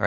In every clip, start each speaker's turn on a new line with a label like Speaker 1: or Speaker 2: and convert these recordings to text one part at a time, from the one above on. Speaker 1: All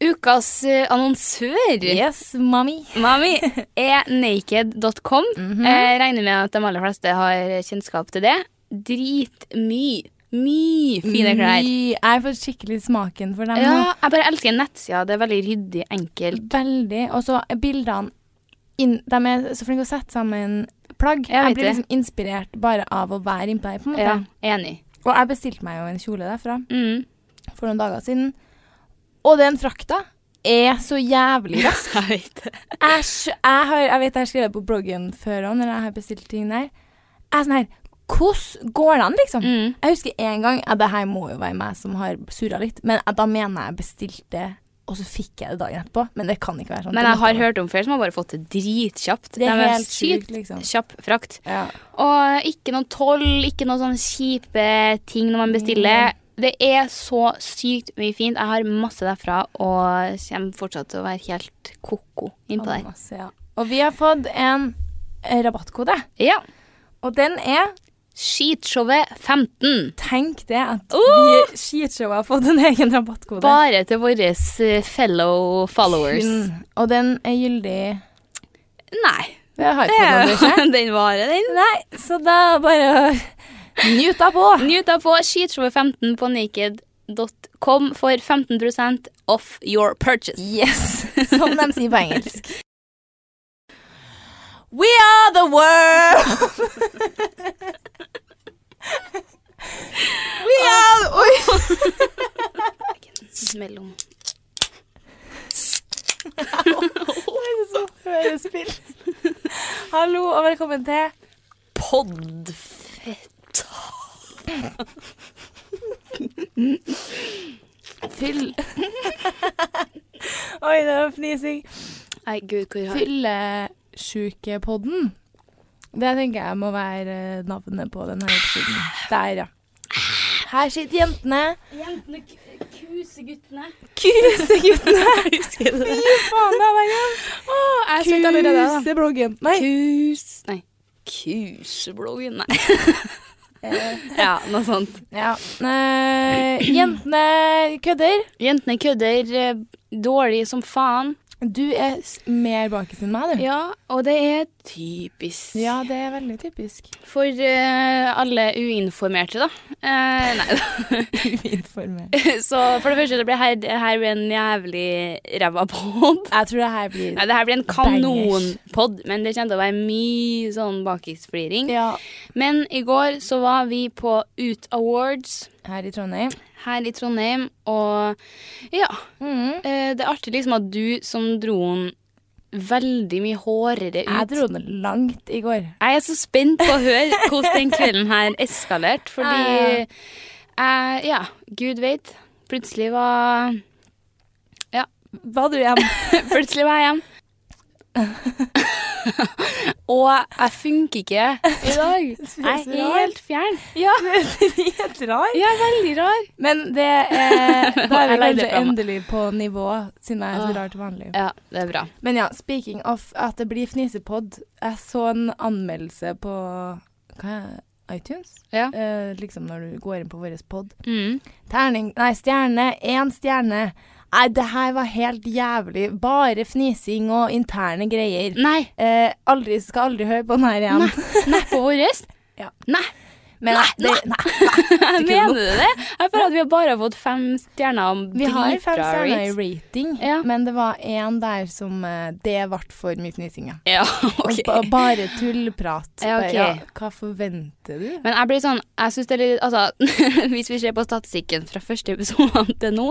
Speaker 2: Ukas eh, annonsør
Speaker 3: Yes, mommy.
Speaker 2: Mami, er naked.com. Jeg regner med at de aller fleste har kjennskap til det. Dritmye. Mye fine klær.
Speaker 3: Vi er for skikkelig smaken for dem
Speaker 2: Ja, jeg bare elsker nettsida. Det er veldig ryddig,
Speaker 3: nå.
Speaker 2: enkelt.
Speaker 3: Veldig. Og så er bildene inn, De er så flinke å sette sammen plagg.
Speaker 2: Jeg vet
Speaker 3: blir
Speaker 2: det.
Speaker 3: liksom inspirert bare av å være innpå her, på en måte.
Speaker 2: Ja, enig.
Speaker 3: Og jeg bestilte meg jo en kjole derfra
Speaker 2: Mm.
Speaker 3: for noen dager siden. Og den frakta er så jævlig rask.
Speaker 2: Jeg vet det.
Speaker 3: jeg, skj- jeg, har, jeg vet jeg har skrevet på bloggen før òg, når jeg har bestilt ting der. Jeg er sånn her Hvordan går det an, liksom?
Speaker 2: Mm.
Speaker 3: Jeg husker en gang ja, Det her må jo være meg som har surra litt, men jeg- da mener jeg jeg bestilte, og så fikk jeg det dagen etterpå. Men det kan ikke være sånn.
Speaker 2: Men
Speaker 3: Det
Speaker 2: jeg
Speaker 3: måtte
Speaker 2: har
Speaker 3: være-
Speaker 2: hørt om flere som har bare fått det dritkjapt.
Speaker 3: Det er
Speaker 2: De
Speaker 3: helt sjukt,
Speaker 2: sykt
Speaker 3: liksom.
Speaker 2: Kjapp frakt.
Speaker 3: Ja.
Speaker 2: Og ikke noe toll, ikke noe sånn kjipe ting når man bestiller. Det er så sykt mye fint. Jeg har masse derfra og kommer fortsatt til å være helt ko-ko innpå der.
Speaker 3: sånn Masse, ja. Og vi har fått en eh, rabattkode,
Speaker 2: Ja.
Speaker 3: og den er
Speaker 2: Skitshowet 15.
Speaker 3: Tenk det at
Speaker 2: Oh!
Speaker 3: vi skitshowet har fått en egen rabattkode.
Speaker 2: Bare til våre fellow followers.
Speaker 3: Mm. Og den er gyldig
Speaker 2: Nei.
Speaker 3: Vi har ikke fått noen beskjed.
Speaker 2: Den varer, den.
Speaker 3: Nei, så da bare njuta på.
Speaker 2: Nyt deg på skitshowet 15 på naked.com for 15 off your purchase.
Speaker 3: Yes, som de sier på engelsk. We are the world! We are the Oi!
Speaker 2: Mellom.
Speaker 3: Hørespill. Hallo og velkommen til Fyll... Oi, det var fnising.
Speaker 2: Nei, gud, hvor har
Speaker 3: Fyllesjukepodden. Det tenker jeg må være eh, navnet på denne episoden. Der, ja. Her sitter jentene.
Speaker 2: Jentene kuser guttene.
Speaker 3: Kuseguttene.
Speaker 2: Husker du det?
Speaker 3: Fy faen, det er hver gang.
Speaker 2: jeg sliter allerede, da.
Speaker 3: Kusebloggen. Nei.
Speaker 2: Kus... Nei. Kusebloggen, nei.
Speaker 3: Eh,
Speaker 2: Ja, noe sånt.
Speaker 3: ja. Eh, jentene kødder.
Speaker 2: Jentene kødder eh, dårlig som faen.
Speaker 3: Du er s- mer bakis enn meg, du.
Speaker 2: Ja, og det er typisk.
Speaker 3: Ja, det er veldig typisk.
Speaker 2: For eh, alle uinformerte, da. Eh, nei da.
Speaker 3: Uinformert.
Speaker 2: Så for det første, det blir her, det her blir en jævlig ræva pod.
Speaker 3: Jeg tror det her blir
Speaker 2: Nei, det her blir en kanonpod, men det kommer til å være mye sånn bakisfliring.
Speaker 3: Ja.
Speaker 2: Men i går så var vi på Ut Awards
Speaker 3: Her i Trondheim.
Speaker 2: her i Trondheim, og ja.
Speaker 3: Mhm.
Speaker 2: eh, Det er artig liksom at du som dro den veldig mye hårere ut.
Speaker 3: Jeg dro den langt i går.
Speaker 2: Jeg er så spent på å høre hvordan den kvelden her eskalerte, fordi eh, Ja, gud veit. Plutselig var
Speaker 3: Var du hjemme?
Speaker 2: Plutselig var jeg hjemme. Og jeg funker ikke i dag. Jeg
Speaker 3: så
Speaker 2: er
Speaker 3: rar.
Speaker 2: helt fjern.
Speaker 3: Ja, det er helt rar.
Speaker 2: Jeg er veldig rar.
Speaker 3: Men det er, da er vi
Speaker 2: Jeg Ah. legger det
Speaker 3: kanskje
Speaker 2: fra meg.
Speaker 3: endelig på nivå, siden jeg er så rar til vanlig.
Speaker 2: Ja, det er bra.
Speaker 3: Men ja, speaking of at det blir fnisepod, jeg så en anmeldelse på hva er, iTunes.
Speaker 2: Ja.
Speaker 3: Eh, liksom når du går inn på vår pod.
Speaker 2: Mm.
Speaker 3: Terning Nei, stjerne. Én stjerne. Nei, det her var helt jævlig. Bare fnising og interne greier.
Speaker 2: Nei.
Speaker 3: Eh, aldri, skal aldri høre på den her igjen.
Speaker 2: Nei. Mm. Nei på vår.
Speaker 3: Ja.
Speaker 2: Nei.
Speaker 3: Men
Speaker 2: Nei,
Speaker 3: det, nei.
Speaker 2: Mener du det? Jeg føler at vi har bare har fått fem stjerner. om
Speaker 3: Vi har
Speaker 2: dritbra
Speaker 3: fem stjerner i
Speaker 2: rates.
Speaker 3: rating,
Speaker 2: Ja.
Speaker 3: men det var én der som eh, Det ble for mye fnising, ja.
Speaker 2: Ja,
Speaker 3: Og
Speaker 2: ok.
Speaker 3: ba- bare tullprat.
Speaker 2: Ja,
Speaker 3: Bare,
Speaker 2: ok.
Speaker 3: ja, hva forventer du?
Speaker 2: Men jeg blir sånn, jeg synes det er litt, altså, hvis vi ser på statistikken fra første episode til nå,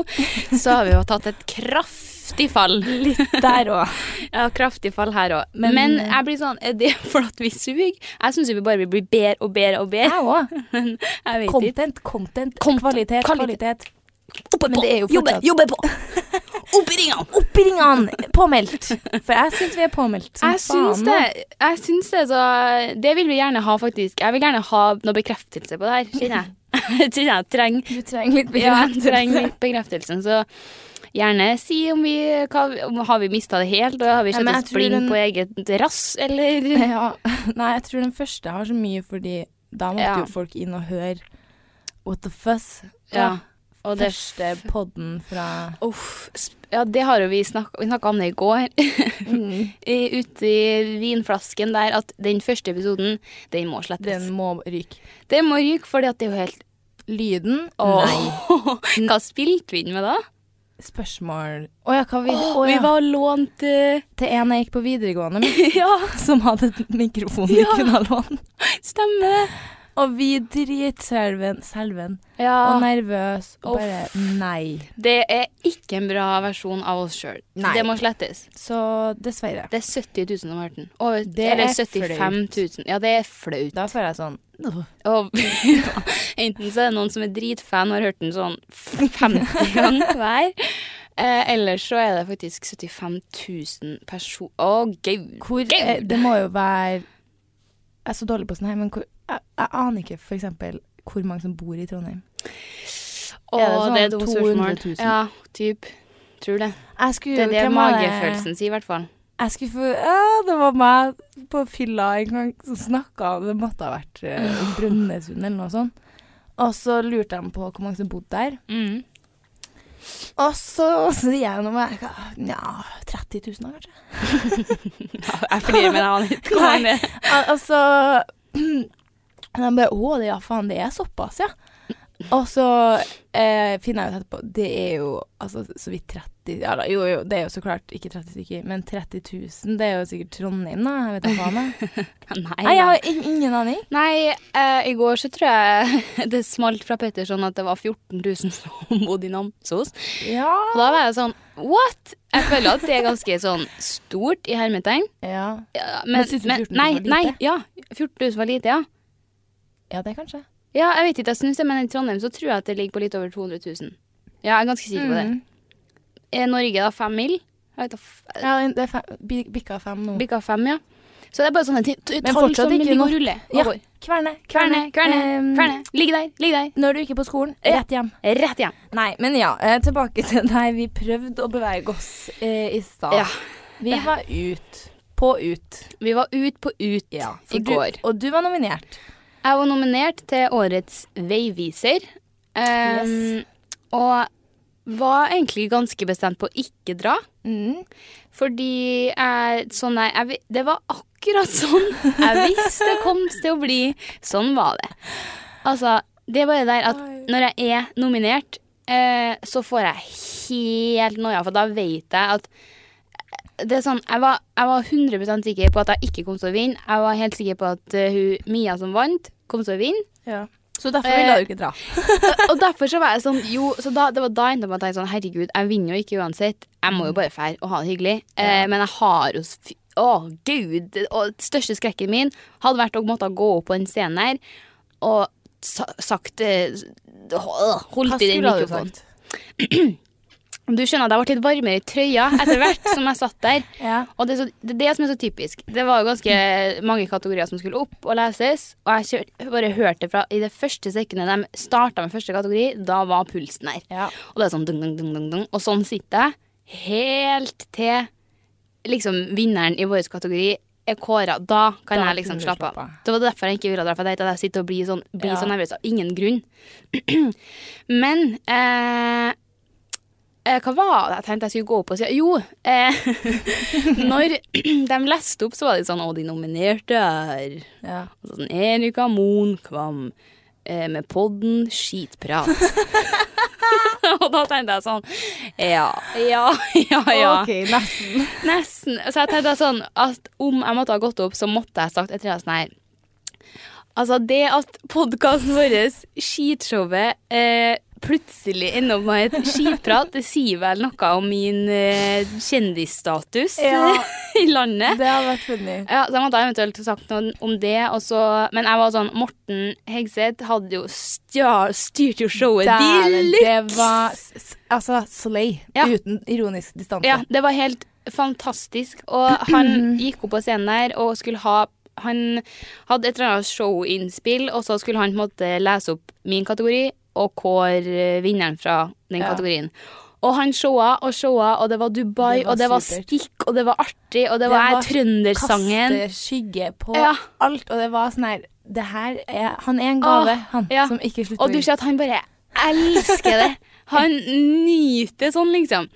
Speaker 2: så har vi jo tatt et kraftig fall.
Speaker 3: Litt der òg.
Speaker 2: Ja, kraftig fall her òg.
Speaker 3: Men-
Speaker 2: Men, jeg blir sånn, er det for at vi suger? Jeg syns vi bare blir bedre og bedre og bedre.
Speaker 3: Jeg òg.
Speaker 2: Men jeg vet ikke.
Speaker 3: Content, content,
Speaker 2: Content,
Speaker 3: kvalitet,
Speaker 2: kvalitet.
Speaker 3: kvalitet.
Speaker 2: Oppe
Speaker 3: Men det er jo
Speaker 2: jobbe,
Speaker 3: fortsatt-
Speaker 2: jobbe på! Opp i ringene!
Speaker 3: Opp i ringene! Påmeldt. For jeg syns vi er påmeldt som
Speaker 2: Jeg syns det. Jeg syns det, så Det vil vi gjerne ha, faktisk. Jeg vil gjerne ha noe bekreftelse på det her, kjenner jeg. Jeg tror jeg trenger
Speaker 3: Du trenger litt
Speaker 2: ja, jeg trenger litt bekreftelsen, så gjerne si om vi hva, om, Har vi mista det helt, og har vi
Speaker 3: Ja,
Speaker 2: sett
Speaker 3: men jeg
Speaker 2: oss
Speaker 3: tror
Speaker 2: blind
Speaker 3: den-
Speaker 2: på eget rass, eller
Speaker 3: Ja. Nei, jeg tror den første har så mye, fordi da måtte
Speaker 2: Ja.
Speaker 3: jo folk inn og høre What the fuss.
Speaker 2: Ja. Og det
Speaker 3: Første podden fra
Speaker 2: Uff. sp- Ja, det har jo vi snakka Vi snakka om det i går.
Speaker 3: Mm.
Speaker 2: I- Ute i vinflasken der at den første episoden, den må slettes.
Speaker 3: Den
Speaker 2: Den,
Speaker 3: må ryke.
Speaker 2: må ryke, fordi at det er jo helt
Speaker 3: Lyden?
Speaker 2: Åh, Hva spilte vi inn med da?
Speaker 3: Spørsmål Å ja, hva vi
Speaker 2: Åh,
Speaker 3: å
Speaker 2: Vi
Speaker 3: ja.
Speaker 2: var lånt eh,
Speaker 3: Til en jeg gikk på videregående med,
Speaker 2: Ja,
Speaker 3: som hadde mikrofon vi
Speaker 2: Ja.
Speaker 3: kunne ha lånt.
Speaker 2: stemmer det.
Speaker 3: Og vi dritselven selven,
Speaker 2: Ja,
Speaker 3: og nervøs og
Speaker 2: Uff.
Speaker 3: bare nei.
Speaker 2: det er ikke en bra versjon av oss sjøl.
Speaker 3: Nei.
Speaker 2: Det må slettes.
Speaker 3: Så dessverre.
Speaker 2: Det er 70 000 om verden. Over,
Speaker 3: Det
Speaker 2: eller
Speaker 3: er
Speaker 2: 75 000. Ja, det er flaut.
Speaker 3: Da får jeg sånn «Åh».
Speaker 2: Og enten så er det noen som er dritfan og har hørt den sånn 50 ganger hver. Eh, eller så er det faktisk 75 000 personer Å, gud!
Speaker 3: Hvor
Speaker 2: Gud!
Speaker 3: eh, Det må jo være Jeg er så dårlig på sånn her, men hvor, jeg, jeg aner ikke for eksempel hvor mange som bor i Trondheim.
Speaker 2: Å,
Speaker 3: er det sånn
Speaker 2: det er et dumt
Speaker 3: 200
Speaker 2: spørsmål.
Speaker 3: 000?
Speaker 2: Ja, typ. Tror det.
Speaker 3: Jeg skulle
Speaker 2: Det er det
Speaker 3: hvem var det?
Speaker 2: magefølelsen sier, i hvert fall.
Speaker 3: Jeg skulle få ja, Det var meg på fylla en gang som snakka om Det måtte ha vært eh, Brønnøysund eller noe sånt. Og så lurte de på hvor mange som bodde der.
Speaker 2: Mm.
Speaker 3: Og så og så sier jeg noe med Nja, 30 000 da, kanskje?
Speaker 2: Jeg flirer, men jeg aner ikke hva det er.
Speaker 3: Al- Altså Og de bare Å, det, ja, faen, det er såpass, ja. Og så eh, finner jeg ut etterpå Det er jo altså, så vidt 30 ja, da, Jo, jo, det er jo så klart ikke 30 stykker, men 30 000, det er jo sikkert Trondheim, da. Jeg vet da faen. jeg.
Speaker 2: Nei,
Speaker 3: Nei, jeg har in- ingen aning.
Speaker 2: Nei, eh, i går så tror jeg det smalt fra Petterson at det var 14 000 som bodde i Namsos.
Speaker 3: Ja.
Speaker 2: Og da var jeg sånn What?! Jeg føler at det er ganske sånn stort i hermetegn.
Speaker 3: ja.
Speaker 2: Ja,
Speaker 3: Men synes du 14 000
Speaker 2: nei,
Speaker 3: var lite?
Speaker 2: Nei, ja, 14 000 var lite, ja.
Speaker 3: Ja, det kanskje.
Speaker 2: Ja, jeg vet ikke, jeg synes det, men i Trondheim så tror jeg at det ligger på litt over 200 000. Ja, jeg er ganske sikker på
Speaker 3: Mm.
Speaker 2: det. Er Norge da fem mil? Jeg vet da f-
Speaker 3: Ja, det er fem, bi- bikka fem nå.
Speaker 2: Bikka fem, ja. Så det er bare sånne ti- t-
Speaker 3: Men
Speaker 2: tall
Speaker 3: fortsatt
Speaker 2: som
Speaker 3: ikke
Speaker 2: ligger
Speaker 3: nok.
Speaker 2: og ruller. og
Speaker 3: Ja.
Speaker 2: går.
Speaker 3: Kverne,
Speaker 2: Kverne, kverne,
Speaker 3: Ehm,
Speaker 2: kverne. Ligg der, ligg der.
Speaker 3: Når du ikke er på skolen,
Speaker 2: Ja.
Speaker 3: rett hjem.
Speaker 2: Rett hjem.
Speaker 3: Nei, men ja, eh, tilbake til der vi prøvde å bevege oss eh, i stad.
Speaker 2: Ja.
Speaker 3: Vi var ut. På ut.
Speaker 2: Vi var ut på ut
Speaker 3: For
Speaker 2: i
Speaker 3: du,
Speaker 2: går.
Speaker 3: Og du var nominert.
Speaker 2: Jeg var nominert til årets veiviser. ehm, Og var egentlig ganske bestemt på å ikke dra. Fordi jeg, sånn jeg, jeg vi- Det var akkurat sånn jeg visste det kom til å bli. Sånn var det. Altså, det var det der at når jeg er nominert, eh, så får jeg helt noia, for da vet jeg at det er sånn, jeg var, jeg var 100 sikker på at jeg ikke kom til å vinne. Jeg var helt sikker på at eh, hun, Mia som vant, kom til å vinne.
Speaker 3: Så derfor
Speaker 2: Eh,
Speaker 3: ville du ikke dra.
Speaker 2: Og derfor så var jeg sånn Jo, så da, det var da jeg endte opp med å tenke sånn Herregud, jeg vinner jo ikke uansett. Jeg må jo bare fære og ha det hyggelig. Eh, men jeg har jo s- fy- Å, gud! det- Og den største skrekken min hadde vært å måtte gå opp på den scenen her og sa, sagt eh, s- å, Holdt i den mikrofonen. Du skjønner at jeg ble litt varmere i trøya etter hvert som jeg satt der.
Speaker 3: Ja.
Speaker 2: Og det er, så, det er det som er så typisk. Det var jo ganske mange kategorier som skulle opp og leses, og jeg kjør, bare hørte det fra i det første sekundet de starta med første kategori, da var pulsen der.
Speaker 3: Ja.
Speaker 2: Og det er sånn dung, dung, dung, dung, dung. Og sånn sitter jeg helt til liksom vinneren i vår kategori er kåra. Da kan
Speaker 3: Da
Speaker 2: jeg liksom
Speaker 3: kunne du
Speaker 2: slappe av.
Speaker 3: slappe av.
Speaker 2: Det var derfor jeg ikke ville dra, for jeg tenkte at jeg sitter og blir sånn, blir
Speaker 3: Ja.
Speaker 2: så nervøs av ingen grunn. Men eh, eh, hva var det jeg tenkte jeg skulle gå opp og si? Jo, eh, når de leste opp, så var det sånn Å, de nominerte er
Speaker 3: Ja.
Speaker 2: og sånn, Erika Monkvam eh, med podden Skitprat. og da tenkte jeg sånn Ja, ja, ja. ja.
Speaker 3: Ok, nesten.
Speaker 2: Nesten. Så jeg tenkte sånn at om jeg måtte ha gått opp, så måtte jeg sagt etter det sånn her Altså, det at podkasten vår, skitshowet, eh, plutselig ender opp med et skitprat, det sier vel noe om min eh, kjendisstatus
Speaker 3: Ja.
Speaker 2: i landet.
Speaker 3: Det hadde vært funny.
Speaker 2: Ja, så jeg måtte eventuelt sagt noe om det, og så Men jeg var sånn Morten Hegseth hadde jo stja- styrt jo showet de
Speaker 3: Dæven,
Speaker 2: luxe!
Speaker 3: det var s- s- altså slay
Speaker 2: Ja.
Speaker 3: uten ironisk distanse.
Speaker 2: Ja, det var helt fantastisk. Og han gikk opp på scenen der og skulle ha Han hadde et eller annet showinnspill, og så skulle han på en måte lese opp min kategori og kåre eh, vinneren fra den
Speaker 3: Ja.
Speaker 2: kategorien. Og han showa og showa, og det var Dubai,
Speaker 3: Det var
Speaker 2: og det var
Speaker 3: supert.
Speaker 2: stikk, og det var artig, og det, var, trøndersangen.
Speaker 3: Kaste skygge på
Speaker 2: Ja.
Speaker 3: alt, og det var sånn her Det her er Han er en gave,
Speaker 2: Åh,
Speaker 3: han
Speaker 2: Ah, ja.
Speaker 3: som ikke slutter
Speaker 2: Og du ser at han bare elsker det. Han nyter sånn, liksom.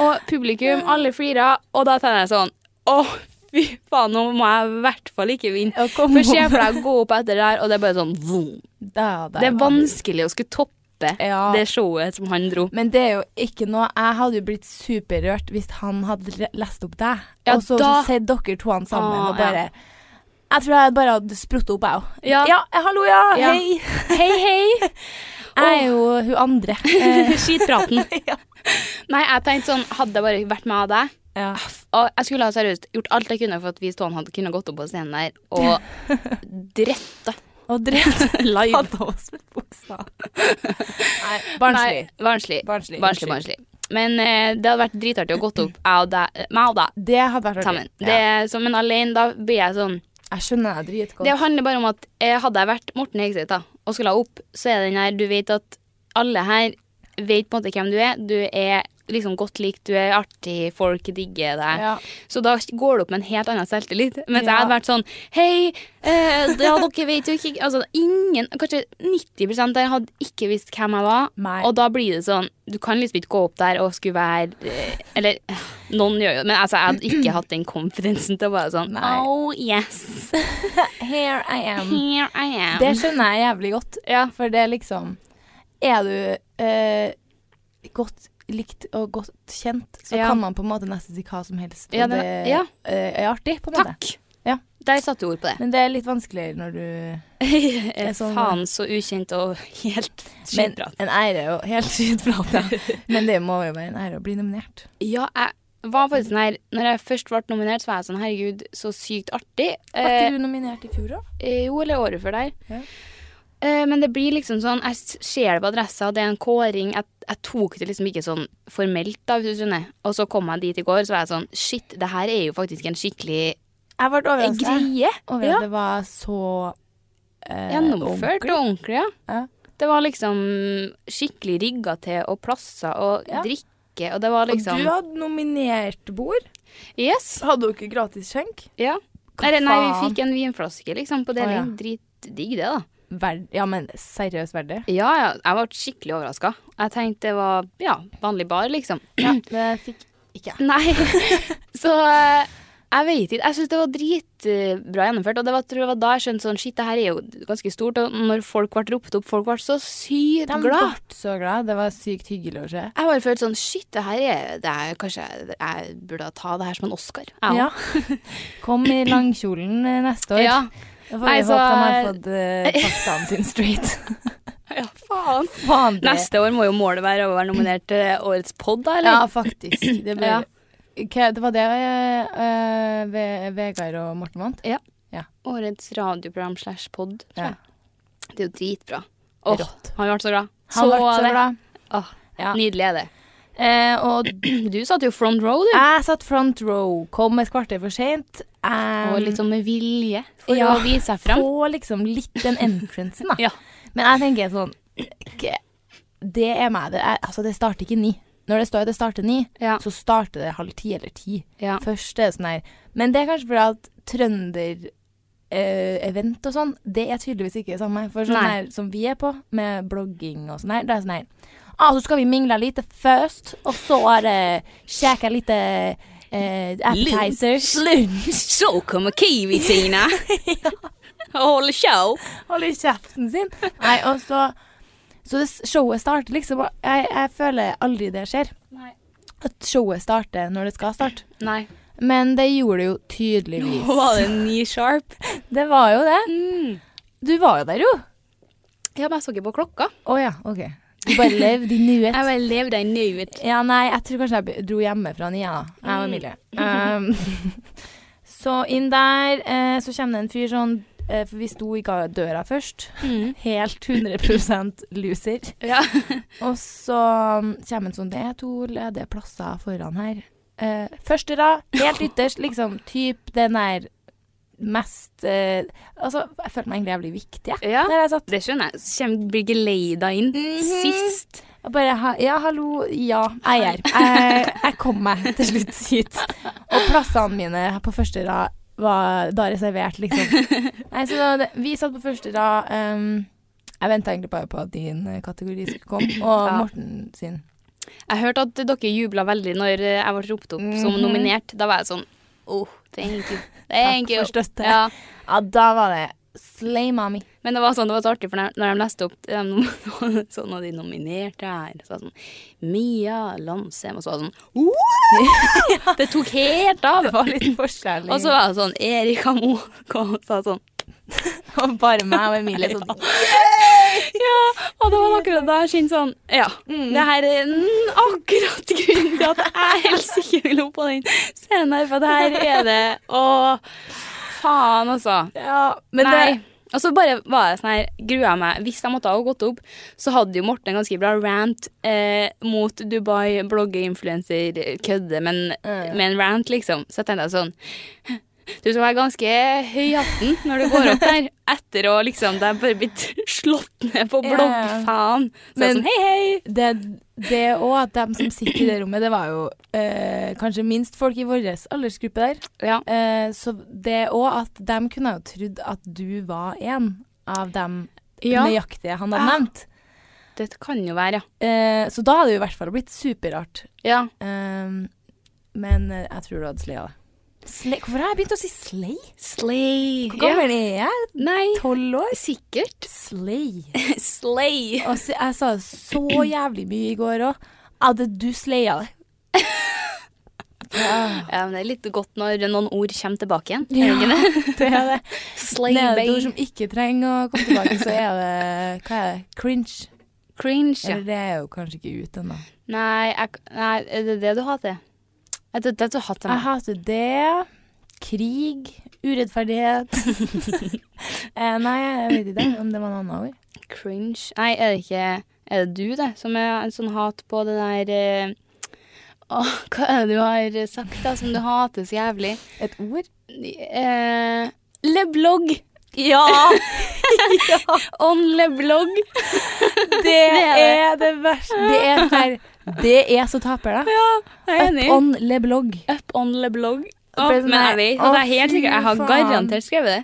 Speaker 2: Og publikum, alle flirer, og da tenker jeg sånn Å, fy faen, nå må jeg i hvert fall ikke vinne.
Speaker 3: Ja, kom
Speaker 2: For se
Speaker 3: opp.
Speaker 2: for deg å gå opp etter det her, og det er bare sånn vroom.
Speaker 3: Da- der
Speaker 2: Det er
Speaker 3: var du.
Speaker 2: vanskelig å skulle toppe
Speaker 3: Ja.
Speaker 2: det showet som han dro.
Speaker 3: Men det er jo ikke noe Jeg hadde jo blitt superrørt hvis han hadde le- lest opp deg,
Speaker 2: Ja,
Speaker 3: og så,
Speaker 2: da-
Speaker 3: så sett dere to han sammen
Speaker 2: Åh,
Speaker 3: og bare Jeg tror jeg bare hadde sprutt opp, jeg òg.
Speaker 2: Ja.
Speaker 3: hallo, ja,
Speaker 2: Ja.
Speaker 3: hei.
Speaker 2: Hei, hei!
Speaker 3: Jeg er jo hun andre. Eh,
Speaker 2: Skitpraten. Nei, jeg tenkte sånn, hadde det bare vært meg og deg
Speaker 3: ja.
Speaker 2: Og jeg skulle ha seriøst gjort alt jeg kunne for at vi i Stålen hadde kunnet gått opp på scenen der og drette
Speaker 3: Og drept
Speaker 2: live.
Speaker 3: hadde oss med buksa. Nei, barnslig.
Speaker 2: Nei, barnslig.
Speaker 3: Barnslig,
Speaker 2: Barnslig, barnslig. Men eh, det hadde vært dritartig å gått opp jeg og deg, eh, meg og deg
Speaker 3: Det hadde vært artig.
Speaker 2: sammen. Det,
Speaker 3: Ja.
Speaker 2: så, men alene, da blir jeg sånn
Speaker 3: Jeg skjønner det dritgodt.
Speaker 2: Det handler bare om at eh, hadde jeg vært Morten Hegseth da, og skulle ha opp, så er den her Du vet at alle her vet på en måte hvem du er. Du er liksom godt likt, du er artig, folk digger deg.
Speaker 3: Ja.
Speaker 2: Så da går det opp med en helt annen selvtillit. Mens jeg
Speaker 3: Ja.
Speaker 2: hadde vært sånn Hei, eh, ja, dere vet jo ikke Altså ingen, kanskje 90 der hadde ikke visst hvem jeg var.
Speaker 3: Nei.
Speaker 2: Og da blir det sånn Du kan liksom ikke gå opp der og skulle være eh, Eller noen gjør jo Men altså, jeg hadde ikke hatt den konfidensen til å bare sånn
Speaker 3: Nei.
Speaker 2: Oh yes.
Speaker 3: Here I am.
Speaker 2: Here I am.
Speaker 3: Det skjønner jeg jævlig godt.
Speaker 2: Ja.
Speaker 3: For det er liksom Er du eh, godt likt og godt kjent, så
Speaker 2: Ja.
Speaker 3: kan man på en måte nesten si hva som helst. Og
Speaker 2: Ja,
Speaker 3: det,
Speaker 2: det- ja.
Speaker 3: eh, er artig, på en måte.
Speaker 2: Takk.
Speaker 3: Ja.
Speaker 2: Der satte du ord på det.
Speaker 3: Men det er litt vanskeligere når du
Speaker 2: Eh,
Speaker 3: sånn-
Speaker 2: Faen, så ukjent og helt
Speaker 3: Men
Speaker 2: skitprat.
Speaker 3: en ære er jo helt skitprat, ja. Men det må jo være en ære å bli nominert.
Speaker 2: Ja, jeg var faktisk sånn her Når jeg først ble nominert, så var jeg sånn Herregud, så sykt artig.
Speaker 3: Var ikke du nominert i fjor, da?
Speaker 2: Eh, jo, eller året før der.
Speaker 3: Ja.
Speaker 2: Eh, men det blir liksom sånn Jeg s- ser det på adressa, det er en kåring. Jeg, jeg tok det liksom ikke sånn formelt, da, hvis du skjønner. Og så kom jeg dit i går, så var jeg sånn Shit, det her er jo faktisk en skikkelig
Speaker 3: Jeg ble overrasket.
Speaker 2: greie.
Speaker 3: Over
Speaker 2: Ja.
Speaker 3: at det var så eh,
Speaker 2: Gjennomført og ordentlig, ja.
Speaker 3: Ja.
Speaker 2: Det var liksom skikkelig rigga til, og plasser og
Speaker 3: Ja.
Speaker 2: drikke, og det var
Speaker 3: Og
Speaker 2: liksom
Speaker 3: du hadde nominert bord.
Speaker 2: Yes.
Speaker 3: Hadde dere gratis skjenk?
Speaker 2: Ja.
Speaker 3: Hva
Speaker 2: Eller, nei, vi
Speaker 3: faen?
Speaker 2: fikk en vinflaske, liksom, på deling.
Speaker 3: Å,
Speaker 2: Dritdigg, det, da.
Speaker 3: Verd, ja, men seriøst verdig.
Speaker 2: Ja, ja. Jeg ble skikkelig overraska. Jeg tenkte det var ja, vanlig bar, liksom.
Speaker 3: Det fikk ikke jeg.
Speaker 2: Nei. Så eh, jeg vet ikke. Jeg syns det var dritbra gjennomført. Og det var, tror jeg var da jeg skjønte sånn shit, det her er jo ganske stort. Og når folk ble ropt opp, folk ble så sykt
Speaker 3: De ble
Speaker 2: glad.
Speaker 3: så glad. Det var sykt hyggelig å se.
Speaker 2: Jeg bare følte sånn shit, det her er, det er Kanskje jeg, jeg burde ta det her som en Oscar. Jeg også.
Speaker 3: Kom i langkjolen eh, neste år.
Speaker 2: Ja.
Speaker 3: Da får vi
Speaker 2: Nei, så-
Speaker 3: håpe de har fått eh, faktaene sine straight.
Speaker 2: ja, faen.
Speaker 3: Faen, det-
Speaker 2: Neste år må jo målet være å være nominert til årets pod, da, eller?
Speaker 3: Ja, faktisk. Det, ble,
Speaker 2: Ja.
Speaker 3: Hva- det var det eh, Ve- Vegard og Morten vant.
Speaker 2: Årets radioprogram slash pod, tror jeg. Det er jo dritbra. Åh,
Speaker 3: Rått.
Speaker 2: han ble så glad.
Speaker 3: Han ble så
Speaker 2: det.
Speaker 3: glad.
Speaker 2: Åh,
Speaker 3: Ja.
Speaker 2: Nydelig er det.
Speaker 4: Eh, og
Speaker 2: Du satt jo front row, du.
Speaker 3: Jeg satt front row, kom et kvarter for seint.
Speaker 2: Og litt sånn med vilje for
Speaker 3: Ja.
Speaker 2: å vise seg fram.
Speaker 3: Få liksom litt den entrancen, da.
Speaker 2: Ja.
Speaker 3: Men jeg tenker sånn ikke- Det er meg. Det, er, altså, det starter ikke ni. Når det står at det starter ni,
Speaker 2: Ja.
Speaker 3: så starter det halv ti eller ti.
Speaker 2: Ja.
Speaker 3: Først er det sånn her. Men det er kanskje fordi at trønder eh, event og sånn, det er tydeligvis ikke det samme. For sånn
Speaker 2: Nei.
Speaker 3: her som vi er på, med blogging og sånn her, det er sånn her Ah, så skal vi mingle litt først, og så er det kjekke litt eh, appetizers.
Speaker 2: Så kommer Kiwi-Tina og holder show.
Speaker 3: Hold i kjeften sin. Nei, og så Så det s- showet starter liksom og Jeg, jeg føler aldri det skjer.
Speaker 2: Nei.
Speaker 3: At showet starter når det skal starte.
Speaker 2: Nei.
Speaker 3: Men det gjorde det jo tydeligvis.
Speaker 2: var det ni sharp?
Speaker 3: Det var jo det. Du var jo der, jo.
Speaker 2: Mm. Ja, men jeg så ikke på klokka.
Speaker 3: Å ja, OK. Du bare levde i nuet.
Speaker 2: Jeg bare levde i nuet.
Speaker 3: Ja, nei, jeg tror kanskje jeg be- dro hjemmefra ni, jeg, da.
Speaker 2: Mm.
Speaker 3: Jeg og Emilie. Um, så inn der, eh, så kommer det en fyr sånn eh, For vi sto i ga- døra først. Helt 100 loser.
Speaker 2: Mm. Ja.
Speaker 3: Og så kommer en sånn Det er to ledige plasser foran her. Eh, første rad, helt ytterst, liksom typ den der mest eh, Altså, jeg følte meg egentlig jævlig viktig, jeg.
Speaker 2: Ja.
Speaker 3: Der jeg satt.
Speaker 2: Det skjønner jeg. Så kommer Brigeleida inn Mhm. sist.
Speaker 3: Jeg bare ha, Ja, hallo, ja, jeg er her. Jeg, jeg kom meg til slutt hit. Og plassene mine på første rad var da reservert, liksom. Nei, så da, det- vi satt på første rad. ehm, jeg venta egentlig bare på at din eh, kategori skulle komme, og
Speaker 2: Ja.
Speaker 3: Morten sin.
Speaker 2: Jeg hørte at dere jubla veldig når eh, jeg ble ropt opp som nominert. Da var jeg sånn Oh, thank you. Thank you.
Speaker 3: for støtte.
Speaker 2: Ja.
Speaker 3: Ja, da var det Slay mommy.
Speaker 2: Men det var sånn, det var så artig, for når når de leste opp de, nom- sånn, og de nominerte her, så var det sånn Mia Landsem, og så var det sånn «Wow!» Det tok helt av.
Speaker 3: Det var litt forskjell.
Speaker 2: Og så var det sånn Erika Mo kom og sa sånn
Speaker 3: var bare meg og Emilie sånn.
Speaker 2: Ja, og det var akkurat da jeg kjente sånn Ja, det her er mm, akkurat grunnen til at jeg helst ikke vil opp på den scenen her, for det her er det Å, faen, altså.
Speaker 3: Ja, men
Speaker 2: Nei. Og så bare var jeg sånn her, grua jeg meg. Hvis jeg måtte ha gått opp, så hadde jo Morten en ganske bra rant eh, mot Dubai, blogger, influenser, kødde, men
Speaker 3: Ja, ja.
Speaker 2: med en rant, liksom. Så jeg tenkte jeg sånn Du skal være ganske høy i hatten når du går opp der, etter å liksom Det er bare blitt slått ned på
Speaker 3: Ja, ja.
Speaker 2: bloggfaen. Så jeg er
Speaker 3: Men-
Speaker 2: sånn hei, hei.
Speaker 3: det, det og at de som sitter i det rommet, det var jo eh, kanskje minst folk i vår aldersgruppe der.
Speaker 2: Ja.
Speaker 3: Eh, så det og at de kunne jo trodd at du var en av dem
Speaker 2: Ja.
Speaker 3: nøyaktige han hadde
Speaker 2: Ja.
Speaker 3: nevnt.
Speaker 2: Det kan jo være, ja.
Speaker 3: Eh, så da hadde det jo i hvert fall blitt superrart.
Speaker 2: ja.
Speaker 3: Eh, men eh, jeg tror du hadde slaya det. Slay? Hvorfor har jeg begynt å si slay?
Speaker 2: Slay.
Speaker 3: Hvor
Speaker 2: Ja.
Speaker 3: gammel er jeg?
Speaker 2: Nei,
Speaker 3: Tolv år?
Speaker 2: sikkert.
Speaker 3: Slay.
Speaker 2: Slay.
Speaker 3: Og så, jeg sa det så jævlig mye i går òg. Hadde du slaya det? Ah.
Speaker 2: Ja, men Det er litt godt når noen ord kommer tilbake igjen. er det ikke det?
Speaker 3: Det er det.
Speaker 2: Slay
Speaker 3: Det er et
Speaker 2: bay.
Speaker 3: ord som ikke trenger å komme tilbake, så er det Hva er det? Cringe.
Speaker 2: Cringe. Ja.
Speaker 3: Eller det er jo kanskje ikke ute ennå.
Speaker 2: Nei, jeg, nei, er det det du hater? Er det det du hater
Speaker 3: Jeg
Speaker 2: meg?
Speaker 3: hater det. Krig. Urettferdighet. eh, nei, jeg vet ikke om det var noe annet ord.
Speaker 2: Cringe. Nei, er det ikke Er det du, det, som er en sånn hat på det der eh, Åh, hva er det du har sagt, da, som du hater så jævlig?
Speaker 3: Et ord?
Speaker 2: Eh, leblogg. Ja! On leblogg.
Speaker 3: Det er det verste. Det er, sånn her, det er så taper, da.
Speaker 2: Ja, jeg er
Speaker 3: Up
Speaker 2: enig.
Speaker 3: on le blogg.
Speaker 2: Up on leblogg.
Speaker 3: Det ble sånn
Speaker 2: men jeg
Speaker 3: der,
Speaker 2: vet,
Speaker 3: å,
Speaker 2: og det er helt sikkert, jeg har
Speaker 3: fy faen.
Speaker 2: garantert skrevet det.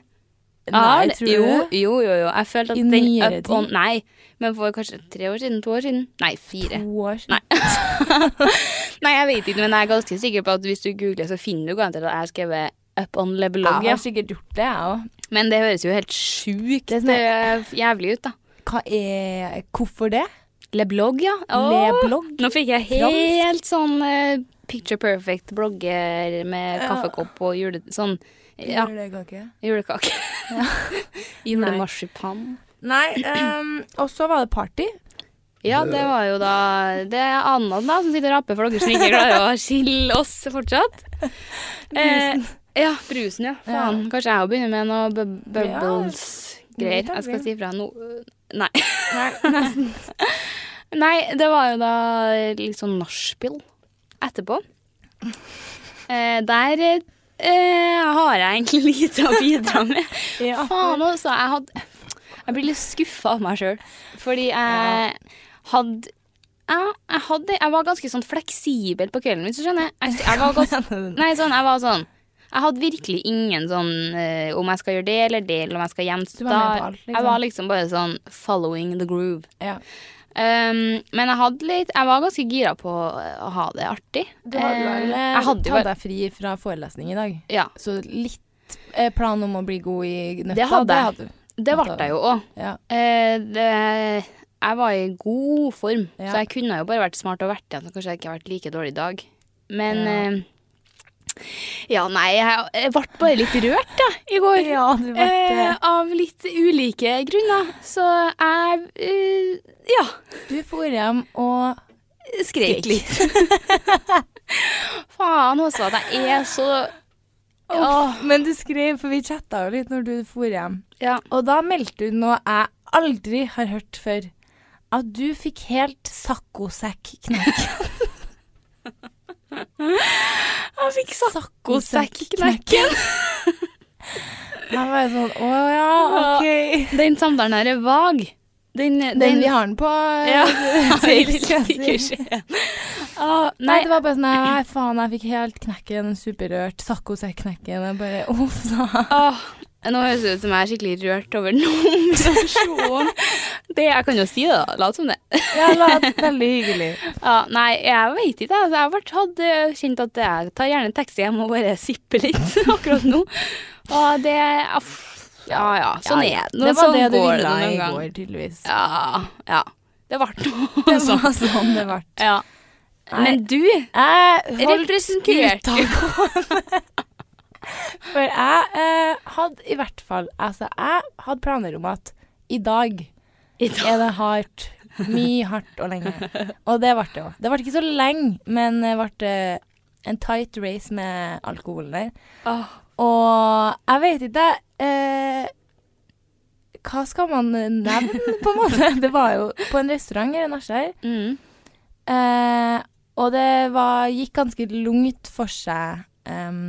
Speaker 3: Nei,
Speaker 2: Ja, det-
Speaker 3: tror du
Speaker 2: jo,
Speaker 3: det?
Speaker 2: jo, jo, jo. Jeg følte at
Speaker 3: I
Speaker 2: den
Speaker 3: nyere
Speaker 2: up on
Speaker 3: tid?
Speaker 2: Nei, men for kanskje tre år siden, to år siden? Nei, fire.
Speaker 3: To år siden.
Speaker 2: Nei. Nei, jeg vet ikke, men jeg er ganske sikker på at hvis du googler, så finner du garantert at jeg har skrevet up on le blogg.
Speaker 3: Jeg
Speaker 2: Ja.
Speaker 3: har sikkert gjort det, jeg òg.
Speaker 2: Men det høres jo helt sjukt
Speaker 3: Det er sånn-
Speaker 2: eh, jævlig ut, da.
Speaker 3: Hva er Hvorfor det?
Speaker 2: Le blogg, ja. Åh!
Speaker 3: Leblogg?
Speaker 2: Nå fikk jeg helt sånn eh, picture perfect blogger med kaffekopp og jule... Sånn. Ja,
Speaker 3: Julekake.
Speaker 2: julekake. Julemarsipan.
Speaker 3: Nei, ehm, og så var det party.
Speaker 2: Ja, det var jo da Det er Anna da som sitter og raper for dere som ikke klarer å skille oss fortsatt. Eh, ja, brusen, ja. Faen. Kanskje jeg òg begynner med noe bu bubbles-greier.
Speaker 3: Ja,
Speaker 2: Jeg skal si fra nå. Nei.
Speaker 3: Nei, nesten.
Speaker 2: Nei, det var jo da litt sånn nachspiel etterpå. Eh, der eh, har jeg egentlig lite å bidra med.
Speaker 3: Ja.
Speaker 2: Faen også, jeg hadde Jeg blir litt skuffa av meg sjøl, fordi jeg hadde jeg, jeg, hadde, jeg var ganske sånn fleksibel på kvelden, hvis du skjønner. Jeg, jeg, var ganske, nei, sånn, jeg var sånn Jeg hadde virkelig ingen sånn eh, om jeg skal gjøre det eller det, eller om jeg skal hjem
Speaker 3: Du var med på alt, liksom.
Speaker 2: Jeg var liksom bare sånn following the groove.
Speaker 3: Ja.
Speaker 2: Um, men jeg hadde litt Jeg var ganske gira på eh, å ha det artig.
Speaker 3: Du hadde vel
Speaker 2: Eh,
Speaker 3: eh,
Speaker 2: jeg hadde jo
Speaker 3: tatt
Speaker 2: bare
Speaker 3: deg fri fra forelesning i dag,
Speaker 2: Ja.
Speaker 3: så litt eh, plan om å bli god i nøtta,
Speaker 2: Det hadde jeg.
Speaker 3: du.
Speaker 2: Det ble jeg jo òg.
Speaker 3: Ja.
Speaker 2: jeg var i god form,
Speaker 3: Ja.
Speaker 2: så jeg kunne jo bare vært smart og vært igjen. Så kanskje jeg ikke har vært like dårlig i dag. Men ja, ja nei, jeg, jeg ble bare litt rørt, jeg, i går.
Speaker 3: Ja, du ble det.
Speaker 2: Eh, av litt ulike grunner. Så jeg eh, ja,
Speaker 3: Du for hjem og
Speaker 2: skrek litt. Faen også, at jeg er så
Speaker 3: Åh, Men du skrev, for vi chatta jo litt når du for hjem.
Speaker 2: Ja.
Speaker 3: Og da meldte du noe jeg aldri har hørt før. At du fikk helt saccosekk-knekk.
Speaker 2: Jeg fikk
Speaker 3: Saccosekk-knekken. Jeg var jo sånn Å ja, OK.
Speaker 2: Den samtalen her er vag. Den,
Speaker 3: Den vi har den på
Speaker 2: Ja.
Speaker 3: Takes.
Speaker 2: Ah,
Speaker 3: Nei,
Speaker 2: nei,
Speaker 3: det var bare sånn Nei, faen, jeg fikk helt knekken. Superrørt. Saccosekk-knekken. Jeg bare Uff, da.
Speaker 2: ah, nå høres det ut som jeg er skikkelig rørt over noen situasjon. Det, jeg kan jo si det, da. Lat som det.
Speaker 3: Ja, la, veldig hyggelig.
Speaker 2: Ja, nei, jeg vet ikke. Altså, jeg ble hatt, eh, kjent at jeg tar gjerne en taxi hjem og bare sipper litt akkurat nå. Og det aff, Ja ja, sånn
Speaker 3: Ja, ja.
Speaker 2: er det. Nå-
Speaker 3: Det var
Speaker 2: sånn
Speaker 3: det du
Speaker 2: går
Speaker 3: ville
Speaker 2: noen
Speaker 3: i
Speaker 2: gang.
Speaker 3: går, tydeligvis.
Speaker 2: Ja. ja. Det ble
Speaker 3: Det
Speaker 2: noe sånn.
Speaker 3: var sånn det ble.
Speaker 2: Ja. Men du
Speaker 3: Jeg holdt
Speaker 2: Representert.
Speaker 3: skuta gående. For jeg eh, hadde i hvert fall Altså, jeg hadde planer om at i dag
Speaker 2: I dag.
Speaker 3: er det hardt. Mye hardt og lenge. Og det ble det jo. Det ble ikke så lenge, men det ble eh, en tight race med alkoholen der.
Speaker 2: Åh.
Speaker 3: Og jeg vet ikke eh, Hva skal man nevne, på en måte? Det var jo på en restaurant her i Nasjar.
Speaker 2: Mm.
Speaker 3: Eh, og det var, gikk ganske lungt for seg em,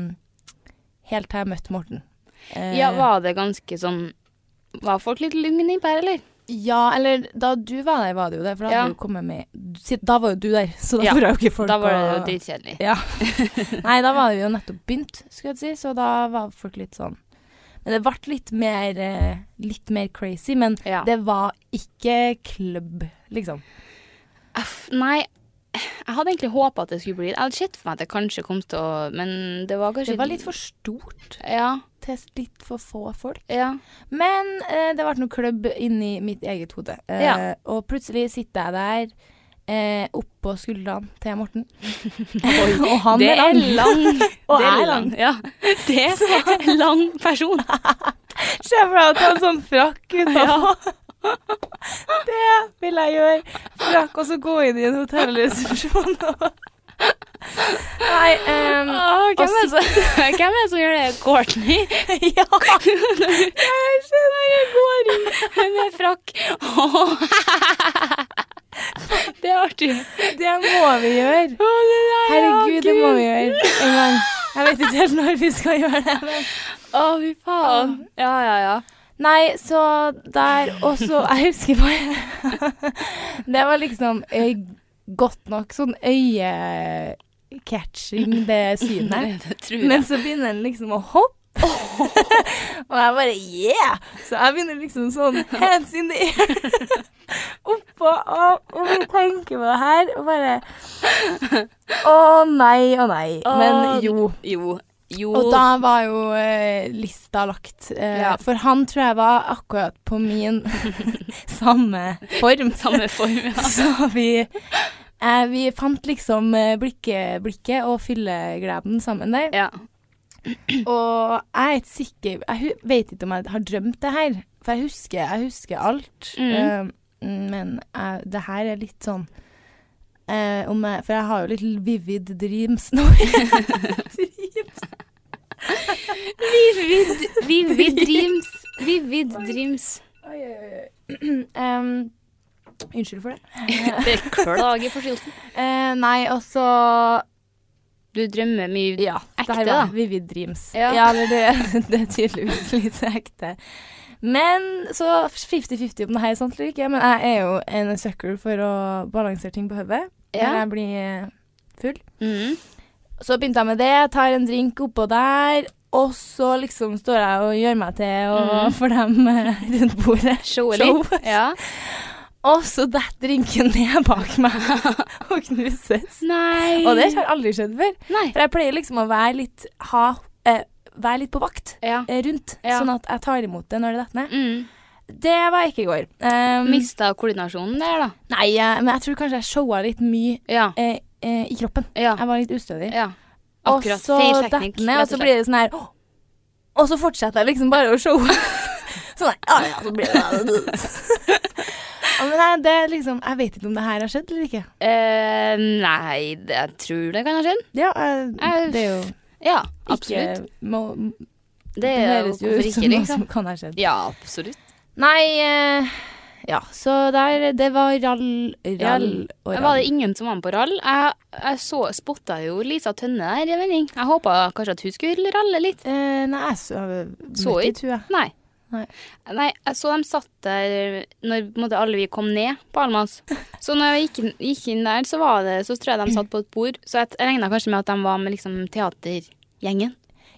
Speaker 3: helt til jeg møtte Morten. Eh,
Speaker 2: Ja, var det ganske sånn Var folk litt lugne innpå her, eller?
Speaker 3: ja, eller da du var der, var det jo det. For da,
Speaker 2: Ja.
Speaker 3: hadde du kommet med, si- da var jo du der, så da
Speaker 2: Ja,
Speaker 3: tror jeg jo ikke folk
Speaker 2: Da var det
Speaker 3: å-
Speaker 2: dritkjedelig.
Speaker 3: Ja. Nei, da var vi jo nettopp begynt, skulle jeg si, så da var folk litt sånn Men det ble litt mer, eh, litt mer crazy, men
Speaker 2: Ja.
Speaker 3: det var ikke klubb, liksom.
Speaker 2: Aff, Nei, jeg hadde egentlig håpa at det skulle bli Jeg hadde sett for meg at det kanskje kom til å Men det var kanskje
Speaker 3: Det var litt for stort
Speaker 2: Ja.
Speaker 3: til litt for få folk.
Speaker 2: ja.
Speaker 3: Men eh, det ble noe klubb inni mitt eget hode. Eh,
Speaker 2: Ja.
Speaker 3: Og plutselig sitter jeg der eh, oppå skuldrene til Morten. og han
Speaker 2: Det
Speaker 3: er
Speaker 2: er
Speaker 3: lang.
Speaker 2: lang.
Speaker 3: Og
Speaker 2: det
Speaker 3: jeg er lang. Ah,
Speaker 2: Ja. Det er en lang person.
Speaker 3: Se for deg at han har sånn frakk utenpå. det vil jeg gjøre. Frakk og så gå inn i en hotellresepsjon. Nei ehm,
Speaker 2: hvem, er det som- hvem er det som gjør det? Courtney?
Speaker 3: Ja! Jeg skjønner, jeg går inn.
Speaker 2: Med frakk. Åh. Det er artig.
Speaker 3: Det må vi gjøre. Herregud, det må vi gjøre en gang. Jeg vet ikke helt når vi skal gjøre det. Men.
Speaker 2: Å, fy faen. Ja, ja, ja.
Speaker 3: Nei, så der også Jeg husker bare Det var liksom eh, godt nok sånn øyecatching, det synet.
Speaker 2: Det tror jeg.
Speaker 3: Men så begynner den liksom å hoppe. og jeg bare yeah! Så jeg begynner liksom sånn hands in the air oppå og, og tenker på det her og bare Å nei, å nei. Men jo.
Speaker 2: Jo. Jo.
Speaker 3: Og da var jo eh, lista lagt. Eh,
Speaker 2: Ja.
Speaker 3: For han tror jeg var akkurat på min samme form.
Speaker 2: Samme form, ja.
Speaker 3: Så vi, eh, vi fant liksom eh, blikket, blikket og fyllegleden sammen der.
Speaker 2: ja.
Speaker 3: Og jeg er ikke sikker Jeg hu- vet ikke om jeg har drømt det her, for jeg husker, jeg husker alt.
Speaker 2: Mm.
Speaker 3: Eh, men jeg, det her er litt sånn eh, om jeg, For jeg har jo litt vivid dreams nå.
Speaker 2: Vivid, vivid dreams. Vivid dreams.
Speaker 3: Em, Unnskyld for det.
Speaker 2: Beklager forstyrrelsen.
Speaker 3: Eh, nei, og så
Speaker 2: Du drømmer mye.
Speaker 3: Ja.
Speaker 2: Ekte,
Speaker 3: det her
Speaker 2: da.
Speaker 3: var Vivid Dreams.
Speaker 2: Ja.
Speaker 3: eller det, det er tydeligvis litt ekte. Men så 50-50 om det her er sant eller ikke. Men jeg er jo en sucker for å balansere ting på hodet
Speaker 2: Ja.
Speaker 3: når jeg blir full.
Speaker 2: Mm.
Speaker 3: Så begynte jeg med det, tar en drink oppå der, og så liksom står jeg og gjør meg til og
Speaker 2: Mm.
Speaker 3: for dem eh, rundt bordet.
Speaker 2: Show litt. Ja.
Speaker 3: Og så detter drinken ned bak meg og knuses.
Speaker 2: Nei.
Speaker 3: Og det har aldri skjedd før.
Speaker 2: Nei.
Speaker 3: For jeg pleier liksom å være litt, ha, eh, være litt på vakt
Speaker 2: Ja.
Speaker 3: eh, rundt,
Speaker 2: Ja.
Speaker 3: sånn at jeg tar imot det når det detter ned.
Speaker 2: Mm.
Speaker 3: Det var jeg ikke i går. Um,
Speaker 2: Mista Mm. koordinasjonen der, da.
Speaker 3: nei, eh, men jeg tror kanskje jeg showa litt mye
Speaker 2: Ja.
Speaker 3: eh, eh, i kroppen.
Speaker 2: Ja.
Speaker 3: Jeg var litt ustødig.
Speaker 2: ja.
Speaker 3: Og
Speaker 2: Akkurat.
Speaker 3: så
Speaker 2: Feil
Speaker 3: detter
Speaker 2: teknikk.
Speaker 3: ned, og så blir det sånn her «Åh!» Og så fortsetter jeg liksom bare å showe. sånn her, «Ah, ja, så blir det Ja, Men nei, det er liksom Jeg vet ikke om det her har skjedd eller ikke.
Speaker 2: Eh, nei, det, jeg tror det kan ha skjedd.
Speaker 3: Ja, eh,
Speaker 2: Jeg-
Speaker 3: det er jo
Speaker 2: Ja,
Speaker 3: ikke
Speaker 2: absolutt.
Speaker 3: Må,
Speaker 2: Det,
Speaker 3: det
Speaker 2: er jo
Speaker 3: høres jo
Speaker 2: hvorfor
Speaker 3: ut som
Speaker 2: ikke,
Speaker 3: noe
Speaker 2: liksom.
Speaker 3: som kan ha skjedd.
Speaker 2: Ja, absolutt.
Speaker 3: Nei eh, Ja, så der Det var rall, rall
Speaker 2: Rall.
Speaker 3: og
Speaker 2: Var det
Speaker 3: rall.
Speaker 2: ingen som var med på rall? Jeg, jeg så, spotta jo Lisa Tønne der i en vending. Jeg håpa kanskje at hun skulle ralle litt.
Speaker 3: Eh, nei, jeg så
Speaker 2: Så ikke.
Speaker 3: møtte ikke hun, jeg.
Speaker 2: Nei.
Speaker 3: Nei.
Speaker 2: Nei, jeg så dem satt der når på en måte, alle vi kom ned på Almas. Så når jeg gikk, inn- gikk inn der, så, var det, så tror jeg de satt på et bord. Så jeg, jeg regna kanskje med at de var med liksom, teatergjengen.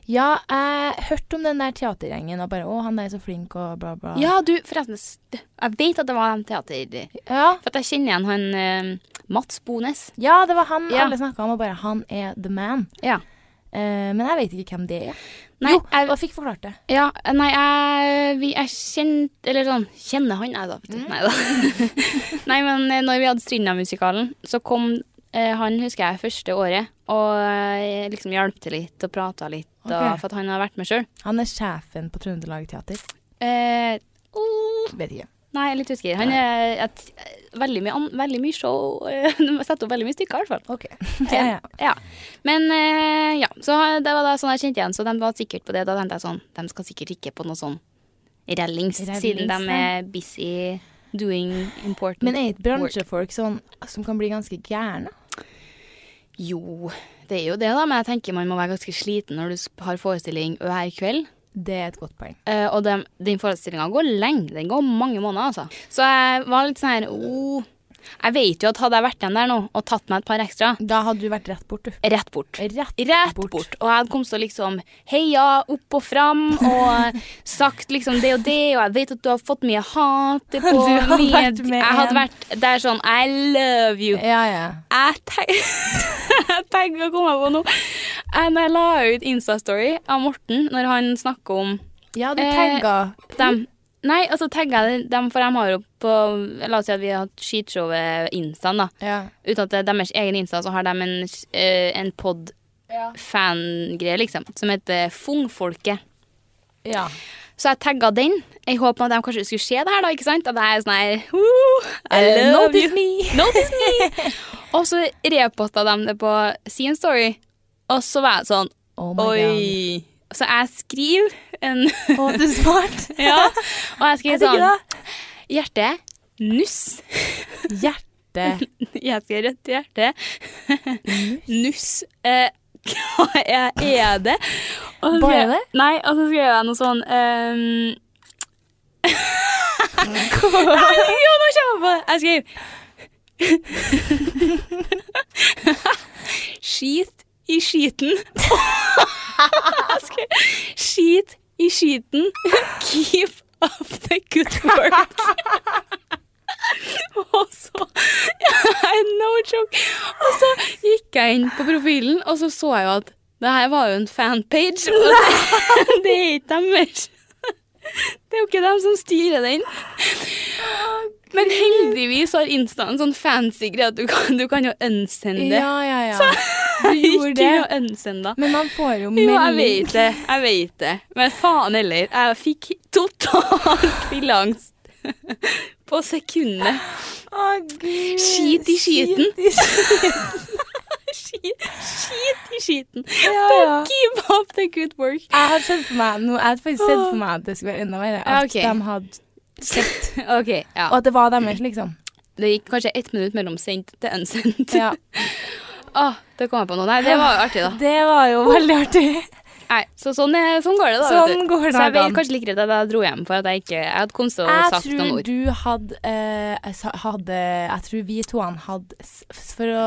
Speaker 3: Ja, jeg hørte om den der teatergjengen og bare 'Å, han er så flink', og bla, bla.
Speaker 2: Ja, du, forresten. s- Jeg vet at det var de teater...
Speaker 3: ja.
Speaker 2: For at jeg kjenner igjen han eh, Mats Bones.
Speaker 3: Ja, det var han
Speaker 2: Ja.
Speaker 3: alle snakka om, og bare 'han er the man'.
Speaker 2: Ja.
Speaker 3: Eh, men jeg vet ikke hvem det er.
Speaker 2: Nei,
Speaker 3: jo,
Speaker 2: jeg-
Speaker 3: jeg fikk forklart det.
Speaker 2: Ja, nei, jeg, vi, jeg kjente Eller sånn, kjenner han jeg da? vet du. Nei da. nei, men eh, når vi hadde Strinda-musikalen, så kom eh, han, husker jeg, første året og eh, liksom hjalp til litt og prata litt,
Speaker 3: Ok.
Speaker 2: og, for at han har vært med sjøl.
Speaker 3: Han er sjefen på Trøndelag Teater.
Speaker 2: Eh, oh,
Speaker 3: Vet ikke.
Speaker 2: nei, jeg er litt usikker. Han er et, veldig, mye, an- veldig mye show. Setter opp veldig mye stykker, i hvert fall.
Speaker 3: Ok. ja, ja.
Speaker 2: Ja. Men eh, ja, så det var da sånn jeg kjente igjen, så de var sikkert på det. Da tenkte jeg sånn, de skal sikkert ikke på noe sånn rallings,
Speaker 3: Rallings,
Speaker 2: siden de
Speaker 3: nei.
Speaker 2: er busy doing important
Speaker 3: Men er
Speaker 2: work.
Speaker 3: ikke bransjefolk sånn som kan bli ganske gærne?
Speaker 2: Jo, det er jo det, da, men jeg tenker man må være ganske sliten når du sp- har forestilling hver kveld.
Speaker 3: Det er et godt poeng.
Speaker 2: Eh, og den, den forestillinga går lenge. Den går mange måneder, altså. Så jeg var litt sånn her oh. Jeg vet jo at hadde jeg vært igjen der nå og tatt meg et par ekstra,
Speaker 3: Da hadde du vært rett bort, du.
Speaker 2: rett bort.
Speaker 3: Rett,
Speaker 2: Rett bort. Og jeg hadde kommet så liksom heia opp og fram og sagt liksom det og det, og jeg vet at du har fått mye hat på
Speaker 3: Du hadde
Speaker 2: mye
Speaker 3: vært med
Speaker 2: Jeg hadde
Speaker 3: en.
Speaker 2: vært der sånn I love you.
Speaker 3: Ja, ja.
Speaker 2: Jeg tenker, jeg tenker å komme på noe. Jeg, når jeg la ut Insta-story av Morten når han snakker om
Speaker 3: Ja, du
Speaker 2: Eh,
Speaker 3: tagga.
Speaker 2: dem Nei, altså tagger jeg dem, for de har jo på La oss si at vi har hatt skishowet Instaen, da.
Speaker 3: Ja.
Speaker 2: Uten at det er deres egen Insta, så har de en, eh, en pod fangreie, liksom, som heter Fungfolket.
Speaker 3: ja.
Speaker 2: Så jeg tagga den. Jeg håpet at de kanskje skulle se det her, da. ikke sant? At jeg er sånn her «Woo, I
Speaker 3: Eh,
Speaker 2: love
Speaker 3: notice
Speaker 2: you.
Speaker 3: me.
Speaker 2: Notice me! Og så reposta de det på sin story, og så var jeg sånn
Speaker 3: Oh my god.
Speaker 2: Oi. Så jeg skriver en
Speaker 3: Å, du svarte.
Speaker 2: Ja. Og jeg skriver sånn Hjerte. Nuss.
Speaker 3: Hjertet.
Speaker 2: Jeg skal rett i hjertet. Nuss. Eh, hva er, er det? Og så
Speaker 3: Bare
Speaker 2: skrev-
Speaker 3: det?
Speaker 2: Nei, og så skrev jeg noe sånn ehm, Nei, jo, nå kommer jeg på det! Jeg skrev Skit i skiten. Jeg skrev, Skit i skiten. Keep up the good work. Og så No joke. Og så gikk jeg inn på profilen, og så så jeg jo at det her var jo en fanpage. Og det, det er ikke deres. Det er jo ikke dem som styrer den. Men heldigvis har Insta en sånn fancy greie at du kan, du kan jo unsende.
Speaker 3: Ja, ja, ja. Du gjorde
Speaker 2: Ikke
Speaker 3: det.
Speaker 2: noe unsenda.
Speaker 3: Men man får jo
Speaker 2: Jo,
Speaker 3: melding.
Speaker 2: jeg vet det. Jeg vet det. Men faen heller. Jeg fikk totalt fillangst på sekundet.
Speaker 3: Å, Gud.
Speaker 2: Skit i skiten.
Speaker 3: Skit i skiten.
Speaker 2: Skit, skit i skiten.
Speaker 3: Ja,
Speaker 2: But
Speaker 3: ja.
Speaker 2: Keep up the good work.
Speaker 3: Jeg har sett for meg noe, jeg hadde faktisk sett for meg at det skulle være enda verre. At
Speaker 2: Ja, ok.
Speaker 3: de hadde sett,
Speaker 2: OK. Ja.
Speaker 3: og at det var deres, liksom.
Speaker 2: det gikk kanskje ett minutt mellom sendt til unsendt.
Speaker 3: Ja.
Speaker 2: ah, det kom jeg på nå. Nei, det var artig, da.
Speaker 3: Det var jo veldig artig.
Speaker 2: Nei, så sånn, er, sånn går det, da. vet
Speaker 3: Sånn
Speaker 2: du.
Speaker 3: går
Speaker 2: så jeg ble
Speaker 3: dagene.
Speaker 2: kanskje like redd at jeg dro hjem for at jeg ikke Jeg hadde kommet til å
Speaker 3: Jeg
Speaker 2: sagt noen
Speaker 3: tror
Speaker 2: ord.
Speaker 3: du hadde, eh, jeg sa- hadde Jeg tror vi to han hadde s- For å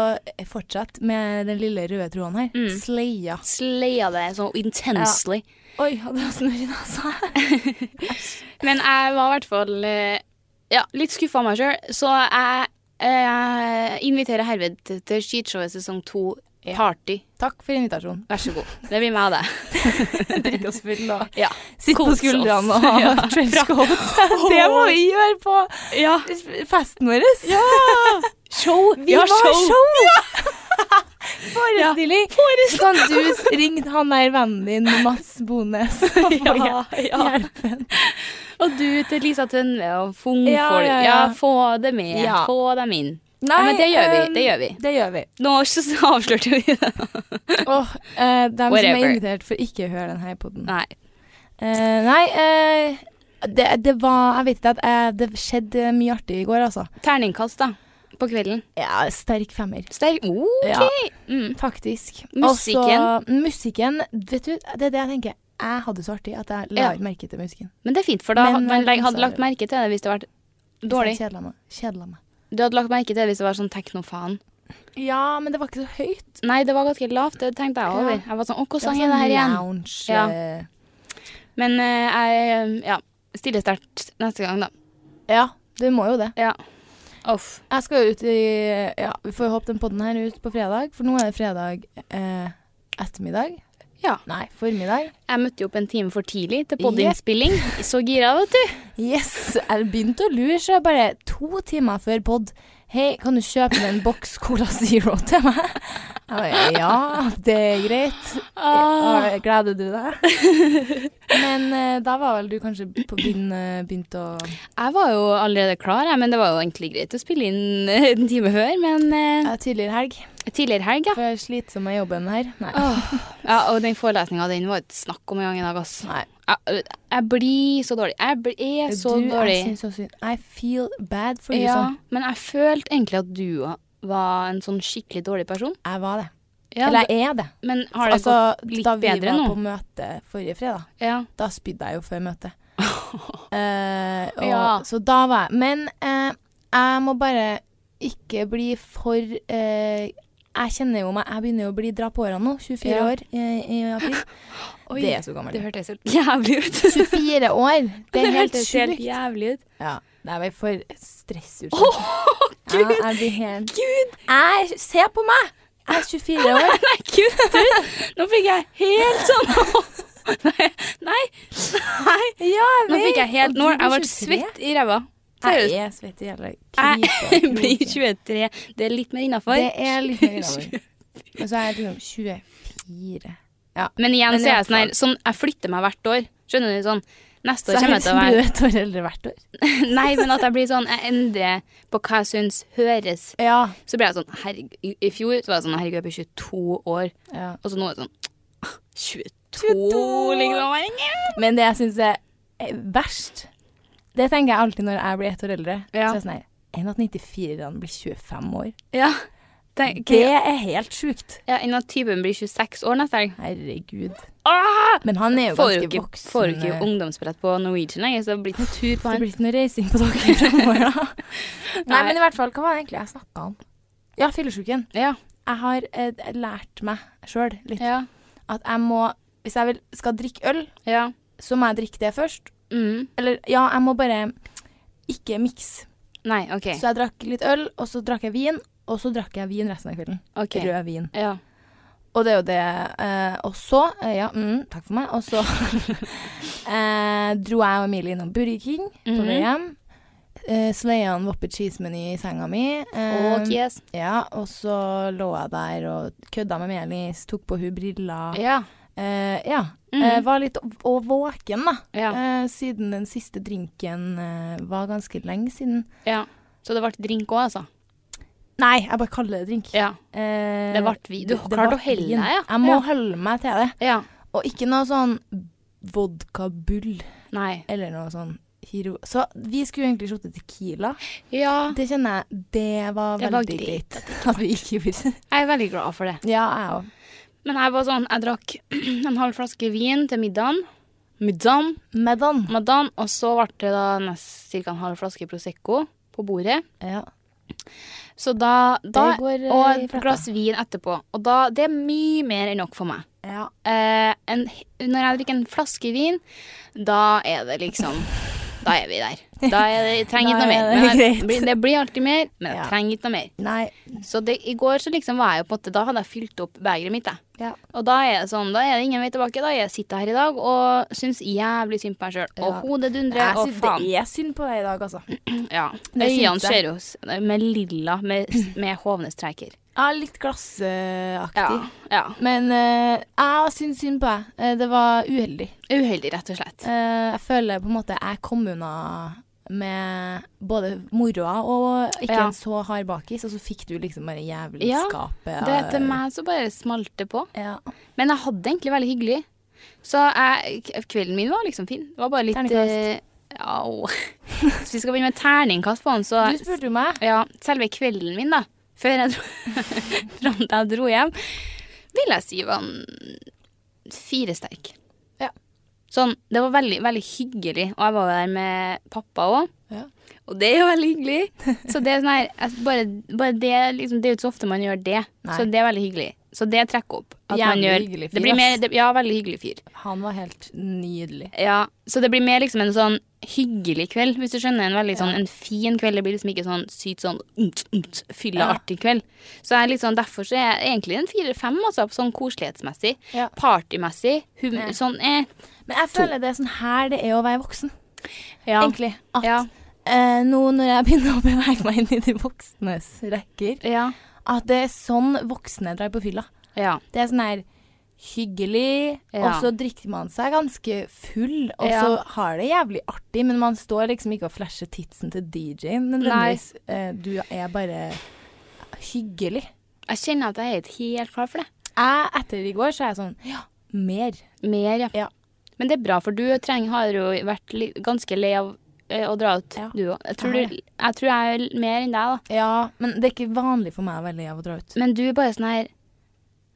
Speaker 3: fortsette med den lille røde tråden her
Speaker 2: Mm.
Speaker 3: sleia.
Speaker 2: Sleia det så intensely.
Speaker 3: Oi, hadde jeg snørr i nesa?
Speaker 2: Men jeg var i hvert fall eh, ja, litt skuffa av meg sjøl, så jeg eh, inviterer herved til- til skishowet sesong to party.
Speaker 3: Takk for invitasjonen.
Speaker 2: Vær så god. Det blir meg og deg.
Speaker 3: Drikk oss full og
Speaker 2: Ja.
Speaker 3: sitte på
Speaker 2: Kos oss.
Speaker 3: skuldrene og ha
Speaker 2: Ja.
Speaker 3: trenchcoat. Det må vi gjøre på
Speaker 2: Ja.
Speaker 3: festen vår.
Speaker 2: Show.
Speaker 3: Vi var show! Forestilling. Så kan du ringe han der vennen din, Mats Bones, og få
Speaker 2: Ja, ja.
Speaker 3: hjelpen.
Speaker 2: Og du til Lisa Tønve og Fung
Speaker 3: Ja,
Speaker 2: folk.
Speaker 3: ja,
Speaker 2: Ja,
Speaker 3: ja.
Speaker 2: få dem med.
Speaker 3: Ja.
Speaker 2: Få dem inn. Nei, men det gjør vi.
Speaker 3: ehm,
Speaker 2: Det gjør vi.
Speaker 3: Det gjør vi.
Speaker 2: Nå så avslørte vi det.
Speaker 3: Åh, eh, dem som
Speaker 2: Whatever.
Speaker 3: er invitert, får ikke høre den her podden.
Speaker 2: Nei.
Speaker 3: Eh, nei eh, det, det var Jeg vet ikke at eh, det skjedde mye artig i går, altså.
Speaker 2: Terningkast, da. På kvelden.
Speaker 3: Ja, sterk femmer.
Speaker 2: Sterk. OK!
Speaker 3: Ja.
Speaker 2: Mm.
Speaker 3: Faktisk.
Speaker 2: Musikken.
Speaker 3: Og så- musikken Vet du, det er det jeg tenker. Jeg hadde det så artig at jeg la
Speaker 2: Ja.
Speaker 3: ikke merke til musikken.
Speaker 2: Men det er fint, for da
Speaker 3: Men,
Speaker 2: hadde man
Speaker 3: eh,
Speaker 2: leg- hadde
Speaker 3: konserter.
Speaker 2: lagt merke til det hvis det var dårlig.
Speaker 3: Kjedla meg. Kjedla meg.
Speaker 2: Du hadde lagt merke til det hvis det var sånn teknofaen.
Speaker 3: Ja, men det var ikke så høyt.
Speaker 2: Nei, det var ganske lavt. Det tenkte jeg over.
Speaker 3: Ja.
Speaker 2: Jeg var sånn Å,
Speaker 3: Det var
Speaker 2: hvordan er
Speaker 3: sånn
Speaker 2: det her igjen?
Speaker 3: Lounge,
Speaker 2: Ja.
Speaker 3: eh,
Speaker 2: Men eh, jeg eh, ja, stiller sterkt neste gang, da.
Speaker 3: ja, du må jo det.
Speaker 2: Ja. Uff.
Speaker 3: Jeg skal jo ut i Ja, vi får håpe den podden her ut på fredag, for nå er det fredag eh, ettermiddag.
Speaker 2: Ja.
Speaker 3: Nei, formiddag.
Speaker 2: Jeg møtte jo opp en time for tidlig til podinnspilling. Så gira, vet du.
Speaker 3: Yes! Jeg begynte å lure, så jeg bare to timer før pod. Hei, kan du kjøpe en boks Cola Zero til meg? Jeg bare, ja, det er greit.
Speaker 2: Ah.
Speaker 3: Ja, Gleder du deg? Men eh, da var vel du kanskje på begynn, eh, begynt å
Speaker 2: Jeg var jo allerede klar, jeg, men det var jo egentlig greit å spille inn eh, en time før. Men eh,
Speaker 3: ja, Tidligere helg.
Speaker 2: tidligere helg, ja.
Speaker 3: For jeg sliter med jobben her. Nei.
Speaker 2: ja. Og den forelesninga, den var et snakk om en gang i dag, ass.
Speaker 3: Nei.
Speaker 2: Jeg, jeg blir så dårlig. Jeg blir, er så
Speaker 3: du,
Speaker 2: dårlig.
Speaker 3: Jeg synes så synd. I feel bad for you.
Speaker 2: ja,
Speaker 3: Sånn.
Speaker 2: men jeg følte egentlig at du var en sånn skikkelig dårlig person.
Speaker 3: Jeg var det.
Speaker 2: Ja,
Speaker 3: Eller jeg er det.
Speaker 2: men har det
Speaker 3: altså,
Speaker 2: gått litt
Speaker 3: da vi
Speaker 2: bedre
Speaker 3: var
Speaker 2: nå?
Speaker 3: på møte forrige fredag,
Speaker 2: Ja.
Speaker 3: da spydde jeg jo før møtet. Eh, og,
Speaker 2: Ja.
Speaker 3: Så da var jeg Men eh, jeg må bare ikke bli for eh, Jeg kjenner jo meg Jeg begynner jo å bli dra på årene nå. 24
Speaker 2: Ja.
Speaker 3: år i, i april. det er så gammelt.
Speaker 2: Det hørtes helt jævlig ut.
Speaker 3: 24 år! Det er helt
Speaker 2: hørtes helt
Speaker 3: sjukt.
Speaker 2: jævlig ut.
Speaker 3: Ja. Nei, jeg er for stressutsatt.
Speaker 2: Gud!
Speaker 3: Ja, jeg blir helt
Speaker 2: Gud!
Speaker 3: Jeg, se på meg! Jeg er 24 år.
Speaker 2: Nei, gud! du, Nå fikk jeg helt sånn Nei, nei, nei.
Speaker 3: Ja, jeg
Speaker 2: Nå fikk jeg helt Nå
Speaker 3: Og du
Speaker 2: jeg ble
Speaker 3: blir 23.
Speaker 2: svett i ræva.
Speaker 3: Jeg
Speaker 2: Seriøst.
Speaker 3: er svett i hele
Speaker 2: Jeg blir
Speaker 3: kroken.
Speaker 2: 23. Det er litt mer innafor.
Speaker 3: Det er litt mer innover. Og så er jeg liksom 24. Ja.
Speaker 2: Men igjen
Speaker 3: Men
Speaker 2: så er jeg sånn her
Speaker 3: i hvert
Speaker 2: sånn, Jeg flytter meg hvert år. Skjønner du? sånn Neste år kommer jeg til å
Speaker 3: blir du
Speaker 2: være
Speaker 3: et år eldre hvert år.
Speaker 2: Nei, men at jeg blir sånn Jeg endrer på hva jeg syns høres.
Speaker 3: Ja.
Speaker 2: Så ble jeg sånn herregud, I i fjor så var jeg sånn Herregud, jeg blir 22 år.
Speaker 3: ja.
Speaker 2: Og så nå er det sånn 22, liksom.
Speaker 3: Men det jeg syns er eh, verst, det tenker jeg alltid når jeg blir ett år eldre.
Speaker 2: Ja.
Speaker 3: Så er det sånn her Enn at 94-erne blir 25 år.
Speaker 2: Ja. Tenk,
Speaker 3: Det er helt sjukt.
Speaker 2: ja, En av typen blir 26 år neste helg.
Speaker 3: Herregud.
Speaker 2: Ah!
Speaker 3: Men han er jo
Speaker 2: Får jo
Speaker 3: ganske
Speaker 2: ikke,
Speaker 3: voksen.
Speaker 2: får jo ikke
Speaker 3: eh,
Speaker 2: ungdomsbillett på Norwegian lenger, så det blir ikke noe tur på
Speaker 3: Det
Speaker 2: han.
Speaker 3: blir ikke noe reising på dere framover, da. Nei, men i hvert fall, hva var det egentlig jeg snakka om? Ja, fyllesyken.
Speaker 2: Ja.
Speaker 3: Jeg har eh, lært meg sjøl litt
Speaker 2: Ja.
Speaker 3: at jeg må Hvis jeg vil, skal drikke øl,
Speaker 2: ja.
Speaker 3: så må jeg drikke det først.
Speaker 2: Mm.
Speaker 3: Eller ja, jeg må bare ikke mikse.
Speaker 2: Nei, OK.
Speaker 3: Så jeg drakk litt øl, og så drakk jeg vin, og så drakk jeg vin resten av kvelden.
Speaker 2: Ok.
Speaker 3: Rød vin.
Speaker 2: Ja.
Speaker 3: Og det er jo det. eh, og så eh, Ja, mm, takk for meg. Og så eh, dro jeg og Emilie innom Burger King på vei
Speaker 2: Mhm.
Speaker 3: hjem. Uh, Sleia en Whopper cheese-meny i senga mi. eh,
Speaker 2: Og yes.
Speaker 3: ja, og så lå jeg der og kødda med Melis, tok på hun briller.
Speaker 2: Ja.
Speaker 3: Eh, ja.
Speaker 2: Mhm.
Speaker 3: eh, var litt å- å- våken, da.
Speaker 2: Ja.
Speaker 3: Eh, siden den siste drinken eh, var ganske lenge siden.
Speaker 2: ja. Så det ble drink òg, altså.
Speaker 3: Nei, jeg bare kaller det drink.
Speaker 2: Ja.
Speaker 3: Eh,
Speaker 2: Det vart vi- du har klart
Speaker 3: vart
Speaker 2: å helle
Speaker 3: vin.
Speaker 2: deg, ja.
Speaker 3: Jeg må
Speaker 2: Ja.
Speaker 3: holde meg til det.
Speaker 2: ja.
Speaker 3: Og ikke noe sånn vodkabull
Speaker 2: Nei.
Speaker 3: eller noe sånn Hiro. Så vi skulle jo egentlig shotte Tequila.
Speaker 2: Ja,
Speaker 3: Det kjenner jeg Det var
Speaker 2: Det
Speaker 3: veldig
Speaker 2: var greit
Speaker 3: greit. At vi ikke gjorde det.
Speaker 2: jeg er veldig glad for det.
Speaker 3: Ja, jeg òg.
Speaker 2: Men jeg var sånn, jeg drakk en halv flaske vin til middagen. Middagen,
Speaker 3: Medan.
Speaker 2: middagen og så ble det da nest- cirka en halv flaske Prosecco på bordet.
Speaker 3: Ja.
Speaker 2: Så da, da
Speaker 3: går, eh,
Speaker 2: Og
Speaker 3: i
Speaker 2: et
Speaker 3: fletta.
Speaker 2: glass vin etterpå. Og da Det er mye mer enn nok for meg.
Speaker 3: ja.
Speaker 2: Eh, en, når jeg drikker en flaske vin, da er det liksom Da er vi der. Da er det, jeg trenger
Speaker 3: Da
Speaker 2: ikke noe
Speaker 3: er
Speaker 2: mer.
Speaker 3: det
Speaker 2: Men jeg,
Speaker 3: greit.
Speaker 2: blir- det blir alltid mer, men jeg
Speaker 3: Ja.
Speaker 2: trenger ikke noe mer.
Speaker 3: Nei.
Speaker 2: Så det, i går så liksom var jeg jo på en måte Da hadde jeg fylt opp begeret mitt, jeg.
Speaker 3: Ja.
Speaker 2: Og da er det sånn, da er det ingen vei tilbake. Da er jeg sitter jeg her i dag og syns jævlig synd på meg sjøl. Og
Speaker 3: Ja.
Speaker 2: hodet
Speaker 3: Jeg
Speaker 2: dundrer, og
Speaker 3: syns
Speaker 2: faen.
Speaker 3: det er synd på deg i dag, altså.
Speaker 2: Ja.
Speaker 3: Det syns
Speaker 2: Øynene
Speaker 3: jeg.
Speaker 2: ser jo s- med lilla, med, med hovne streker.
Speaker 3: Ja, litt glassaktig.
Speaker 2: Ja. ja.
Speaker 3: Men eh, jeg syns synd på deg. Eh, det var uheldig.
Speaker 2: Uheldig, rett og slett.
Speaker 3: Eh, jeg føler på en måte jeg kom unna med både moroa og ikke
Speaker 2: Ja.
Speaker 3: en så hard bakis, og så fikk du liksom bare jævlig
Speaker 2: Ja,
Speaker 3: skapet.
Speaker 2: Det er til meg som bare smalt det på.
Speaker 3: Ja.
Speaker 2: Men jeg hadde egentlig veldig hyggelig. Så jeg, k- kvelden min var liksom fin. Det var bare litt
Speaker 3: Terningkast.
Speaker 2: eh, Au. Hvis vi skal begynne med terningkast på den, så
Speaker 3: Du spurte jo meg.
Speaker 2: Ja, selve kvelden min, da. Før jeg dro, fram til jeg dro hjem, vil jeg si var en fire sterk.
Speaker 3: Ja.
Speaker 2: Sånn, det var veldig, veldig hyggelig, og jeg var jo der med pappa òg.
Speaker 3: Ja.
Speaker 2: Og det er jo veldig hyggelig. Så det er sånn her, altså, bare, bare det, liksom, det er jo ikke så ofte man gjør det.
Speaker 3: Nei.
Speaker 2: Så det er veldig hyggelig. Så det trekker opp. At
Speaker 3: Jævlig
Speaker 2: man gjør,
Speaker 3: hyggelig fyr,
Speaker 2: det blir mer,
Speaker 3: ass.
Speaker 2: det, ja, veldig hyggelig fyr.
Speaker 3: Han var helt nydelig.
Speaker 2: Ja, så det blir mer liksom en sånn hyggelig kveld, hvis du skjønner. En veldig sånn, en fin kveld. Det blir liksom ikke sånn sykt sånn umt, umt, fylleartig kveld. Så jeg er litt sånn, derfor så er jeg egentlig en fire-fem, altså, sånn koselighetsmessig.
Speaker 3: Ja.
Speaker 2: Partymessig. Hum, Sånn eh.
Speaker 3: Men jeg føler det er sånn her det er å være voksen,
Speaker 2: Ja.
Speaker 3: egentlig. At
Speaker 2: Ja.
Speaker 3: eh, nå når jeg begynner å bevege meg inn i de voksnes rekker,
Speaker 2: Ja.
Speaker 3: at det er sånn voksne drar på fylla.
Speaker 2: Ja.
Speaker 3: Det er sånn her hyggelig,
Speaker 2: Ja.
Speaker 3: og så drikker man seg ganske full, og
Speaker 2: Ja.
Speaker 3: så har det jævlig artig, men man står liksom ikke og flasher titsen til DJ-en nødvendigvis. Eh, Du er bare hyggelig.
Speaker 2: Jeg kjenner at jeg er ikke helt klar for det.
Speaker 3: Jeg, etter i går, så er jeg sånn Ja, mer.
Speaker 2: Mer, ja.
Speaker 3: Ja.
Speaker 2: Men det er bra, for du trenger, har jo vært li ganske lei av eh, å dra ut,
Speaker 3: Ja.
Speaker 2: du òg. Jeg, tror
Speaker 3: Jeg har
Speaker 2: du- jeg tror jeg er mer enn deg, da.
Speaker 3: Ja, men det er ikke vanlig for meg å være lei av å dra ut.
Speaker 2: Men du er bare sånn her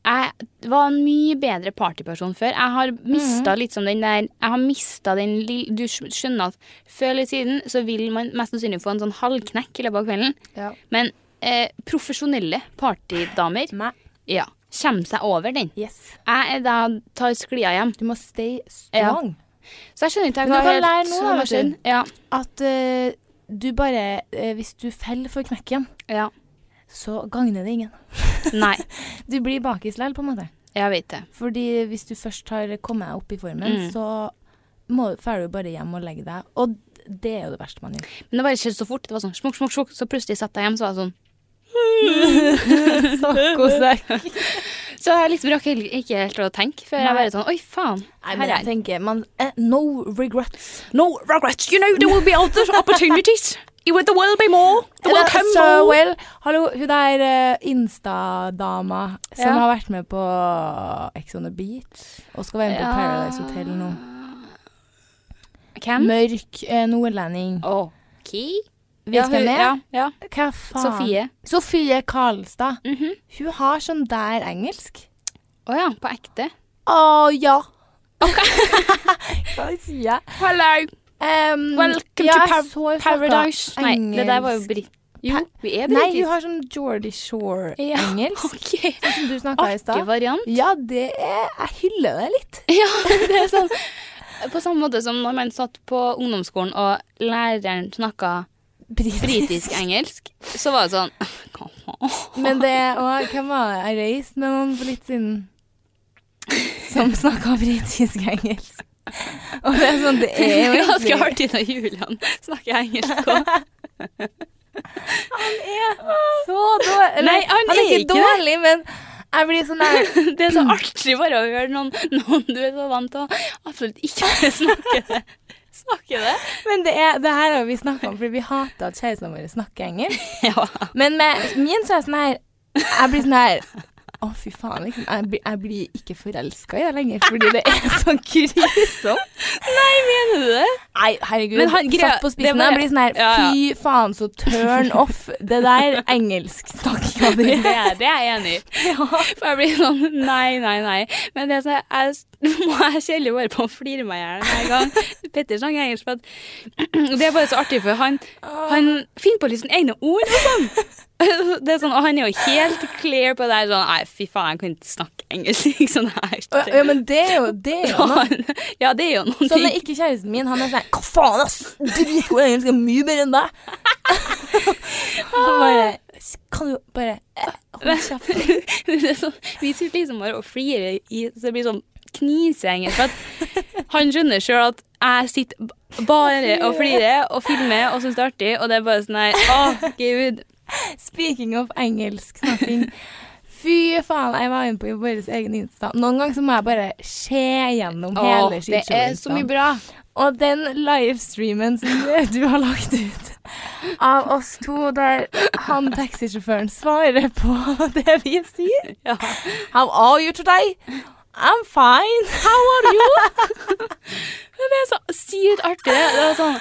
Speaker 2: Jeg var en mye bedre partyperson før. Jeg har
Speaker 3: Mhm.
Speaker 2: mista litt som den der Jeg har mista den lille Du skj- skjønner at før eller siden så vil man mest sannsynlig få en sånn halvknekk i løpet av kvelden.
Speaker 3: Ja.
Speaker 2: Men eh, profesjonelle partydamer
Speaker 3: Nei.
Speaker 2: ja, kommer seg over den.
Speaker 3: Yes.
Speaker 2: Jeg er da tar sklia hjem.
Speaker 3: Du må stay strong.
Speaker 2: Så jeg skjønner ikke
Speaker 3: Men du
Speaker 2: hva
Speaker 3: kan
Speaker 2: helt
Speaker 3: lære nå,
Speaker 2: som
Speaker 3: da,
Speaker 2: har
Speaker 3: vet du.
Speaker 2: skjedd. Ja,
Speaker 3: At eh, du bare eh, Hvis du faller for knekken,
Speaker 2: ja.
Speaker 3: så gagner det ingen.
Speaker 2: Nei,
Speaker 3: Du blir bakis likevel, på en måte.
Speaker 2: jeg vet det.
Speaker 3: Fordi hvis du først har kommet deg opp i formen,
Speaker 2: Mm.
Speaker 3: så må, får du bare hjem og legge deg. Og det er jo det verste man gjør.
Speaker 2: Men det bare skjedde så fort. Det var sånn smukk, smukk, smukk. Så plutselig satt jeg hjem, så var jeg sånn
Speaker 3: Saccosekk.
Speaker 2: Så jeg liksom rakk heller ikke helt å tenke før jeg bare sånn Oi, faen.
Speaker 3: Nei,
Speaker 2: her
Speaker 3: men
Speaker 2: er
Speaker 3: jeg
Speaker 2: jeg.
Speaker 3: tenker man, eh, No regrets.
Speaker 4: No regrets. You know, there will be other opportunities. It will, there will be more. There will
Speaker 3: Eller
Speaker 4: come
Speaker 3: so
Speaker 4: more.
Speaker 3: well. Hallo, hun der eh, Insta-dama som
Speaker 2: Ja.
Speaker 3: har vært med på eh, Ex on the Beach og skal være med på
Speaker 2: Ja.
Speaker 3: Paradise Hotel nå.
Speaker 2: Hvem?
Speaker 3: Mørk eh, nordlending.
Speaker 2: Ok.
Speaker 3: Vet du hvem det
Speaker 2: Ja,
Speaker 3: er?
Speaker 2: ja.
Speaker 3: Hva faen?
Speaker 2: Sofie.
Speaker 3: Sofie Karlstad. Hun har sånn der engelsk.
Speaker 2: Å ja, på ekte.
Speaker 3: Å ja. Hva sier jeg?
Speaker 2: Hello,
Speaker 3: Um,
Speaker 2: welcome
Speaker 3: ja,
Speaker 2: to
Speaker 3: jeg så jo
Speaker 2: par
Speaker 3: flott, da.
Speaker 2: Paradise. Nei, det der var jo
Speaker 3: Engelsk.
Speaker 2: britt... Jo, vi er
Speaker 3: Nei, hun
Speaker 2: britiske.
Speaker 3: har sånn Jordy
Speaker 2: Ja,
Speaker 3: Shore-engelsk,
Speaker 2: Ok.
Speaker 3: som du snakka i
Speaker 2: Artig
Speaker 3: stad.
Speaker 2: variant.
Speaker 3: Ja, det er Jeg hyller det litt.
Speaker 2: Ja, det er sånn. På samme måte som når man satt på ungdomsskolen og læreren snakka
Speaker 3: Britisk.
Speaker 2: britisk-engelsk, så var det sånn Hva faen?
Speaker 3: Men det og Hvem var det jeg reiste med noen for litt siden? Som snakka britisk-engelsk. Og det er sånn, det er jo
Speaker 2: Ganske
Speaker 3: egentlig-
Speaker 2: artig når Julian snakker engelsk òg.
Speaker 3: så dårlig. Eller,
Speaker 2: Nei, han
Speaker 3: er
Speaker 2: er
Speaker 3: ikke
Speaker 2: ikke det.
Speaker 3: dårlig, men jeg blir sånn der
Speaker 2: Det er så artig bare å høre noen, noen du er så vant til å absolutt ikke snakke det. Snakke det?
Speaker 3: Men det, er, det her har vi snakka om, fordi vi hater at kjærestene våre snakker engelsk.
Speaker 2: Ja.
Speaker 3: Men med min så er jeg sånn her Jeg blir sånn her Å, fy faen. Liksom. Jeg, blir- jeg blir ikke forelska i deg lenger, fordi det er så grusomt.
Speaker 2: Nei, mener du det?
Speaker 3: Nei, herregud.
Speaker 2: Men han greia-
Speaker 3: satt på spissen.
Speaker 2: det var-
Speaker 3: Jeg blir sånn her
Speaker 2: Ja, ja.
Speaker 3: Fy faen, så turn off. Det der engelsksnakkinga di.
Speaker 2: Det er, det er jeg enig i. For jeg blir sånn nei, nei, nei. Men det som jeg- jeg må jeg kjelle bare på å flire meg i hjel hver gang Petter snakker engelsk. For at, det er bare så artig, for han, han finner på litt sånne egne ord. Liksom. Det er sånn, og han er jo helt clear på det her. Sånn, nei, fy faen, jeg kan ikke snakke engelsk. Ikke sånn
Speaker 3: Å,
Speaker 2: her.
Speaker 3: Ja, men det er jo det er jo noe.
Speaker 2: Ja, det er jo noen
Speaker 3: Sånn er
Speaker 2: ting.
Speaker 3: ikke kjæresten min. Han er sånn Hva faen, ass! Dritgod i engelsk. er Mye bedre enn deg. Han bare Kan du bare eh, Hold kjeft.
Speaker 2: Men det er sånn, vi sitter liksom bare og flirer i Så det blir sånn kniseengelsk. For at han skjønner sjøl at jeg sitter b- bare og flirer og filmer og syns det er artig, og det er bare sånn her Å, gud.
Speaker 3: Speaking of engelsksnakking. Fy faen, jeg var inne på vår egen Insta. Noen ganger så må jeg bare se gjennom
Speaker 2: Å,
Speaker 3: hele
Speaker 2: det er så mye
Speaker 3: skitshowet.
Speaker 2: bra.
Speaker 3: Og den livestreamen som du- du har lagt ut av oss to, der han taxisjåføren svarer på det vi sier.
Speaker 2: Ja.
Speaker 3: How are you today? I'm fine. How are you?
Speaker 2: Men det er så sykt artig. Det er sånn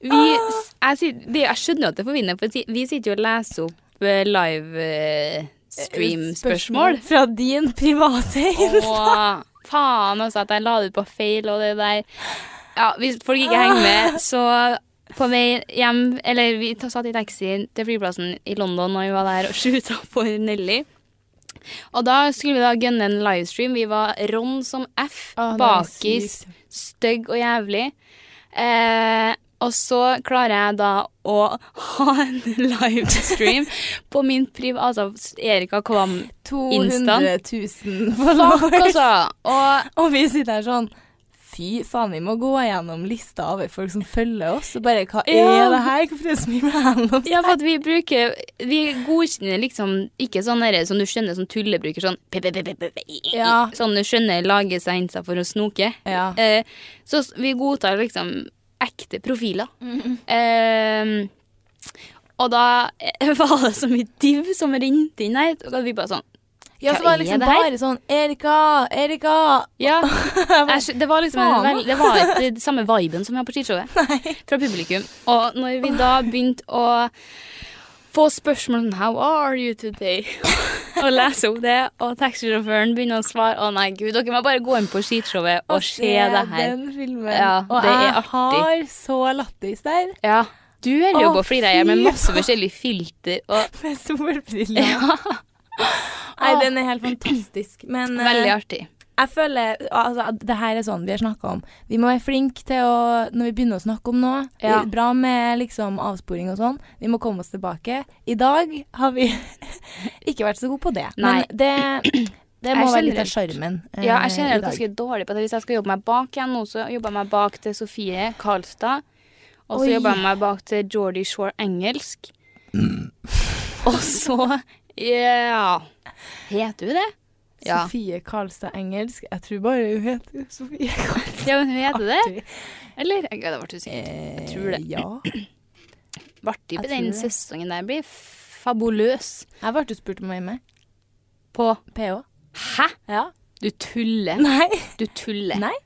Speaker 2: vi, jeg, sit- det, jeg skjønner jo at det forvinner, for si- vi sitter jo og leser opp eh, live eh, stream-spørsmål.
Speaker 3: Fra din private Insta.
Speaker 2: Åh, faen også at jeg la det ut på feil og det der. Ja, hvis folk ikke henger
Speaker 3: Ah.
Speaker 2: med, så på vei hjem, eller vi ta- satt i taxi til flyplassen i London når vi var der og skjuta på Nelly. Og da skulle vi da gønne en livestream. Vi var ron som F,
Speaker 3: Åh, det er
Speaker 2: bakis,
Speaker 3: sykt.
Speaker 2: stygg og jævlig. Eh, og så klarer jeg da å ha en livestream på min priv... Altså Erika Kvam.
Speaker 3: 200 000
Speaker 2: Fuck,
Speaker 3: followers.
Speaker 2: altså! Og
Speaker 3: Og vi sitter her sånn Fy faen, vi må gå gjennom lista over folk som følger oss. Og bare Hva
Speaker 2: Ja.
Speaker 3: er det her? Hvorfor er det så mye randoms?
Speaker 2: Ja, for at vi bruker Vi godkjenner liksom ikke sånn derre som du skjønner sånn tullebruker, sånn pe- pe- pe- pe- pe- pe-
Speaker 3: Ja.
Speaker 2: Sånn du skjønner lager seg innsats for å snoke.
Speaker 3: Ja.
Speaker 2: Eh, så s- vi godtar liksom ekte profiler.
Speaker 3: Mm.
Speaker 2: eh, og da eh, var det så mye div som rente inn her, og da vi bare sånn
Speaker 3: Ja,
Speaker 2: Hva
Speaker 3: så var
Speaker 2: er
Speaker 3: det liksom
Speaker 2: det her?
Speaker 3: bare sånn Erika, Erika.
Speaker 2: Ja. Jeg, skj- det var liksom en,
Speaker 3: Faen.
Speaker 2: vel- Det var ikke det samme viben som vi har på skishowet fra publikum. Og når vi da begynte å få spørsmål om 'How are you today?' og lese opp det, og taxisjåføren begynner å svare 'Å nei, gud, dere må bare gå inn på skishowet og se det her'.
Speaker 3: Den filmen.
Speaker 2: Ja,
Speaker 3: og
Speaker 2: det er
Speaker 3: jeg
Speaker 2: artig.
Speaker 3: har så lattis der.
Speaker 2: Ja. Du holder jo
Speaker 3: Å,
Speaker 2: på å flire i hjel med
Speaker 3: fy
Speaker 2: masse
Speaker 3: faen.
Speaker 2: forskjellige filter og
Speaker 3: Med solbriller.
Speaker 2: ja,
Speaker 3: Nei, den er helt fantastisk. Men eh,
Speaker 2: Veldig artig.
Speaker 3: jeg føler altså, at det her er sånn vi har snakka om. Vi må være flinke til å Når vi begynner å snakke om noe
Speaker 2: Ja.
Speaker 3: det er Bra med liksom avsporing og sånn. Vi må komme oss tilbake. I dag har vi ikke vært så gode på det.
Speaker 2: Nei.
Speaker 3: Men det, det må
Speaker 2: Jeg
Speaker 3: være litt av
Speaker 2: generelt-
Speaker 3: sjarmen. eh,
Speaker 2: Ja, jeg
Speaker 3: i
Speaker 2: kjenner at
Speaker 3: dag.
Speaker 2: jeg er ganske dårlig på det. Hvis jeg skal jobbe meg bak igjen nå, så jobber jeg meg bak til Sofie Karlstad. Og så
Speaker 3: Oi.
Speaker 2: jobber jeg meg bak til Jordy Shore engelsk.
Speaker 3: Mm.
Speaker 2: Og så Ja. Heter hun det? Ja.
Speaker 3: Sofie Karlstad engelsk. Jeg tror bare hun heter Sofie Karlstad.
Speaker 2: ja, men hun heter det. Eller? Jeg det ble usikker. Jeg tror det.
Speaker 3: Eh, Ja.
Speaker 2: Artig
Speaker 3: Eh, Jeg
Speaker 2: på
Speaker 3: tror
Speaker 2: den
Speaker 3: det.
Speaker 2: sesongen der blir fabuløs.
Speaker 3: Jeg ble jo spurt om å være med.
Speaker 2: På
Speaker 3: PH.
Speaker 2: Hæ?
Speaker 3: Ja.
Speaker 2: Du tuller.
Speaker 3: Nei.
Speaker 2: Du tuller.
Speaker 3: Nei.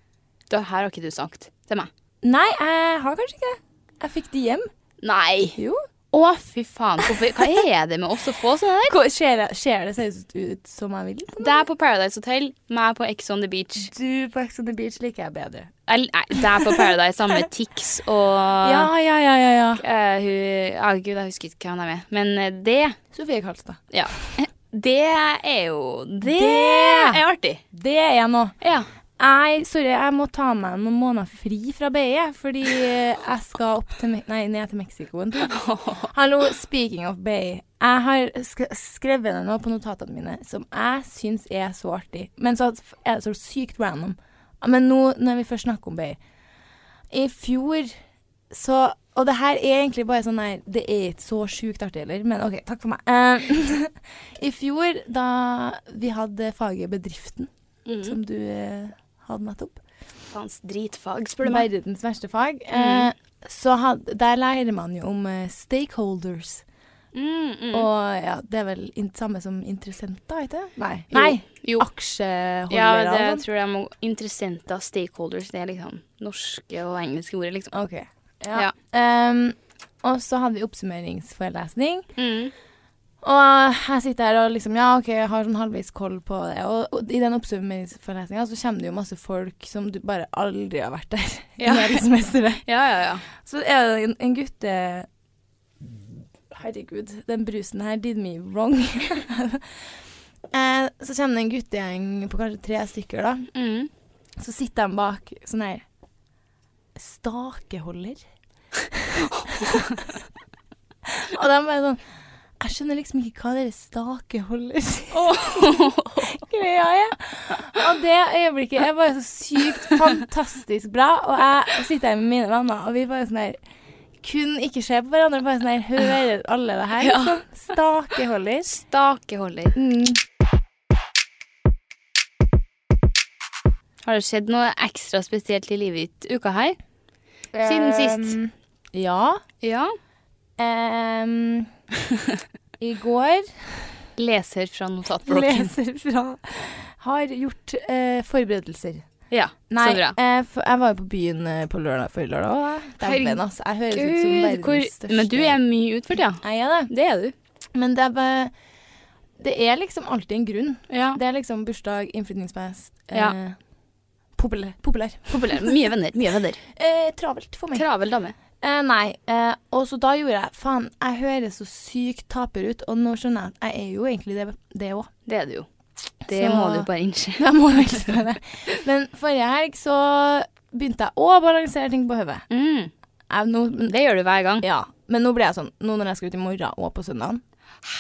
Speaker 2: Det her har ikke du sagt til meg.
Speaker 3: Nei, jeg har kanskje ikke det. Jeg fikk det hjem.
Speaker 2: Nei.
Speaker 3: Jo.
Speaker 2: Å, fy faen. Hvorfor, hva er det med oss å få sånn sånne der?
Speaker 3: Ser det, ser det seg ut, ut som jeg vil?
Speaker 2: Deg på Paradise Hotel, meg på Ex on the Beach.
Speaker 3: Du på Ex on the Beach liker jeg bedre.
Speaker 2: Eller, nei, deg på Paradise sammen med Tix og
Speaker 3: Ja, ja, ja, ja. ja.
Speaker 2: eh, hun ja, Gud, jeg husker ikke hvem de er. Men eh, det
Speaker 3: Sofie Karlstad.
Speaker 2: Ja. Det er jo Det,
Speaker 3: Det!
Speaker 2: er artig.
Speaker 3: Det er jeg nå.
Speaker 2: Ja.
Speaker 3: Nei, sorry, jeg må ta meg noen måneder fri fra BI, fordi jeg skal opp til, Me- nei, ned til Mexico en tur. Hallo, speaking of BI. Jeg har sk skrevet ned noe på notatene mine som jeg syns er så artig, men så er det så sykt random. Men nå, når vi først snakker om BI I fjor så Og det her er egentlig bare sånn her Det er ikke så sjukt artig heller, men OK, takk for meg. Eh, I fjor, da vi hadde faget Bedriften, som du eh, hadde nettopp
Speaker 2: Faens dritfag, spør du meg.
Speaker 3: Verdens
Speaker 2: Mm.
Speaker 3: verste fag. Eh, så had, der lærer man jo om eh, stakeholders.
Speaker 2: Mm, mm.
Speaker 3: Og ja, det er vel in samme som interessenter, heter det? Nei.
Speaker 2: Nei.
Speaker 3: Jo.
Speaker 2: Jo.
Speaker 3: Aksjeholdere
Speaker 2: Ja, det
Speaker 3: og sånn.
Speaker 2: tror jeg må Interessenter, stakeholders, det er liksom norske og engelske ordet, liksom.
Speaker 3: Ok. Ja.
Speaker 2: Ja.
Speaker 3: Ehm, og så hadde vi oppsummeringsforelesning.
Speaker 2: Mm.
Speaker 3: Og jeg sitter her og liksom Ja, OK, jeg har sånn halvveis koll på det. Og, og i den oppsummeringsforelesninga så kommer det jo masse folk som du bare aldri har vært der
Speaker 2: Ja.
Speaker 3: i hele semesteret.
Speaker 2: ja, ja, ja.
Speaker 3: Så er det en, en gutte Herregud, den brusen her did me wrong. eh, så kommer det en guttegjeng på kanskje tre stykker, da.
Speaker 2: Mm.
Speaker 3: Så sitter de bak sånn her Stakeholder. og de bare sånn Jeg skjønner liksom ikke hva dere stakeholder greia er. Og det øyeblikket er bare så sykt fantastisk bra. Og jeg sitter her med mine venner, og vi bare sånn her kun ikke se på hverandre, bare sånn her Hører alle det her? Liksom. Stakeholder.
Speaker 2: Stakeholder.
Speaker 3: Mm.
Speaker 2: Har det skjedd noe ekstra spesielt i livet ditt uka her? Siden sist.
Speaker 3: Um, Ja.
Speaker 2: Ja.
Speaker 3: Um, I går
Speaker 2: Leser fra notatblokken.
Speaker 3: leser fra Har gjort eh, forberedelser.
Speaker 2: Ja,
Speaker 3: Nei,
Speaker 2: så bra.
Speaker 3: eh, for jeg var jo på byen eh, på lørdag forrige lørdag òg. Dæven,
Speaker 2: Herregud,
Speaker 3: altså. Jeg høres ut som
Speaker 2: Gud,
Speaker 3: verdens
Speaker 2: hvor
Speaker 3: største
Speaker 2: Men du er mye utført, ja.
Speaker 3: Jeg er det.
Speaker 2: Det er du.
Speaker 3: Men det er bare Det er liksom alltid en grunn.
Speaker 2: Ja.
Speaker 3: Det er liksom bursdag, innflytningsfest eh,
Speaker 2: Ja.
Speaker 3: Populær. populær.
Speaker 2: Populær. Mye venner. Mye venner.
Speaker 3: Eh, travelt for meg.
Speaker 2: Travel dame.
Speaker 3: Eh, nei. Eh, og så da gjorde jeg Faen, jeg høres så sykt taper ut, og nå skjønner jeg at jeg er jo egentlig det- det òg.
Speaker 2: Det er du jo. Det
Speaker 3: Så-
Speaker 2: må du bare innse.
Speaker 3: Jeg må vel gjøre det. Men forrige helg så begynte jeg å balansere ting på hodet.
Speaker 2: Mm.
Speaker 3: Jeg- nå-
Speaker 2: Det gjør du hver gang.
Speaker 3: Ja. Men nå ble jeg sånn Nå når jeg skal ut i morgen og på søndagen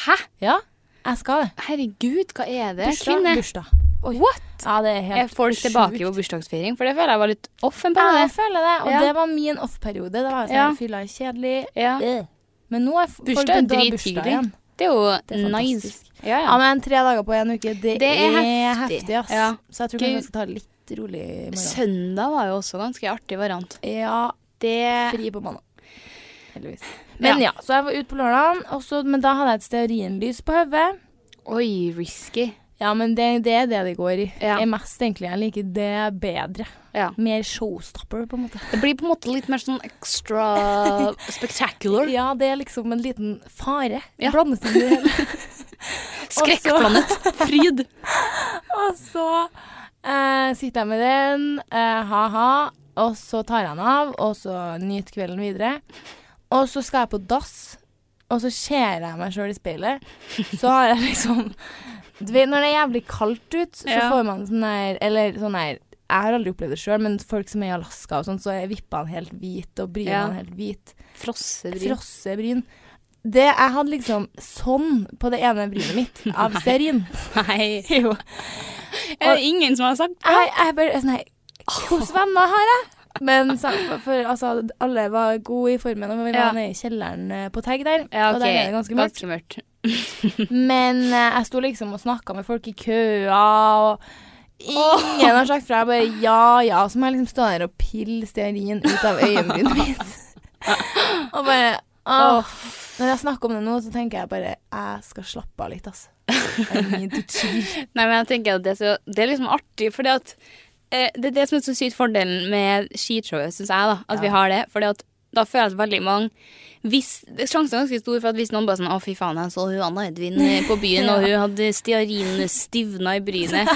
Speaker 2: Hæ?
Speaker 3: Ja, jeg skal det.
Speaker 2: Herregud, hva er det?
Speaker 3: Bursdag. Bursdag. Oi.
Speaker 2: What?
Speaker 3: Ja, det er helt
Speaker 2: Er folk tilbake på
Speaker 3: sjukt.
Speaker 2: bursdagsfeiring? For det føler jeg var litt off en
Speaker 3: Ja, jeg
Speaker 2: periode.
Speaker 3: føler det. Og
Speaker 2: Ja.
Speaker 3: det var min off-periode. Det var sånn
Speaker 2: Ja.
Speaker 3: jeg fylla kjedelig.
Speaker 2: Ja.
Speaker 3: Øh. Men nå er f- folk
Speaker 2: Bursdag er
Speaker 3: begynt å ha
Speaker 2: drithyggelig.
Speaker 3: bursdag igjen.
Speaker 2: Det er jo
Speaker 3: Det er
Speaker 2: nice.
Speaker 3: fantastisk.
Speaker 2: Ja,
Speaker 3: Ja,
Speaker 2: ja.
Speaker 3: men tre dager på én uke, det,
Speaker 2: Det er
Speaker 3: er, heftig.
Speaker 2: heftig.
Speaker 3: ass.
Speaker 2: Ja.
Speaker 3: Så jeg tror kanskje
Speaker 2: Gud.
Speaker 3: jeg skal ta det litt rolig i morgen.
Speaker 2: Søndag var jo også ganske artig variant.
Speaker 3: Ja,
Speaker 2: Det
Speaker 3: fri på mandag. Heldigvis. Men ja, så jeg var ute på lørdagen, og så- men da hadde jeg et stearinlys på hodet.
Speaker 2: Oi, risky.
Speaker 3: Ja, men det, det er det det går i.
Speaker 2: Ja.
Speaker 3: Jeg mest egentlig. Jeg liker det bedre.
Speaker 2: Ja.
Speaker 3: Mer showstopper, på en måte.
Speaker 2: Det blir på en måte litt mer sånn extra spectacular.
Speaker 3: Ja, det er liksom en liten fare.
Speaker 2: Ja.
Speaker 3: Blandet inn i det hele.
Speaker 2: Skrekkblandet. Fryd.
Speaker 3: Og så eh, sitter jeg med den, eh, ha-ha, og så tar jeg den av, og så nyt kvelden videre. Og så skal jeg på dass, og så ser jeg meg sjøl i speilet. Så har jeg liksom Du vet, når det er jævlig kaldt ut, så
Speaker 2: Ja.
Speaker 3: får man sånn her Eller sånn her Jeg har aldri opplevd det sjøl, men folk som er i Alaska og sånn, så er vippene helt hvite, og brynene
Speaker 2: Ja.
Speaker 3: helt hvite.
Speaker 2: Frossebryn.
Speaker 3: Frossebryn. Det, jeg hadde liksom sånn på det ene brynet mitt av stearin.
Speaker 2: Nei.
Speaker 3: Jo.
Speaker 2: Er det ingen som har sagt
Speaker 3: Jeg, jeg bare sånn her Hvilke venner har jeg? Men så, for, for, altså, alle var gode i formen, og vi
Speaker 2: Ja.
Speaker 3: var nede i kjelleren eh, på Teg der.
Speaker 2: Ja, ok.
Speaker 3: Og der er det ganske mørkt.
Speaker 2: Ganske mørkt.
Speaker 3: Men eh, jeg sto liksom og snakka med folk i køa, og ingen har sagt fra. Jeg bare ja, ja. Så må jeg liksom stå der og pille stearin ut av øyenbrynet mitt. og bare åh. Når jeg snakker om det nå, så tenker jeg bare jeg skal slappe av litt, altså. I need to chill.
Speaker 2: Nei, men jeg tenker at det er, så, det er liksom artig, for det at eh, Det er det som er så sykt fordelen med skishowet, syns jeg, da. At vi har det. For at da føler jeg at veldig mange hvis, det- Sjansen er ganske stor for at hvis noen bare sånn Å, fy faen, jeg så hun Anna Edvin eh, på byen, og hun hadde stearin stivna i brynet.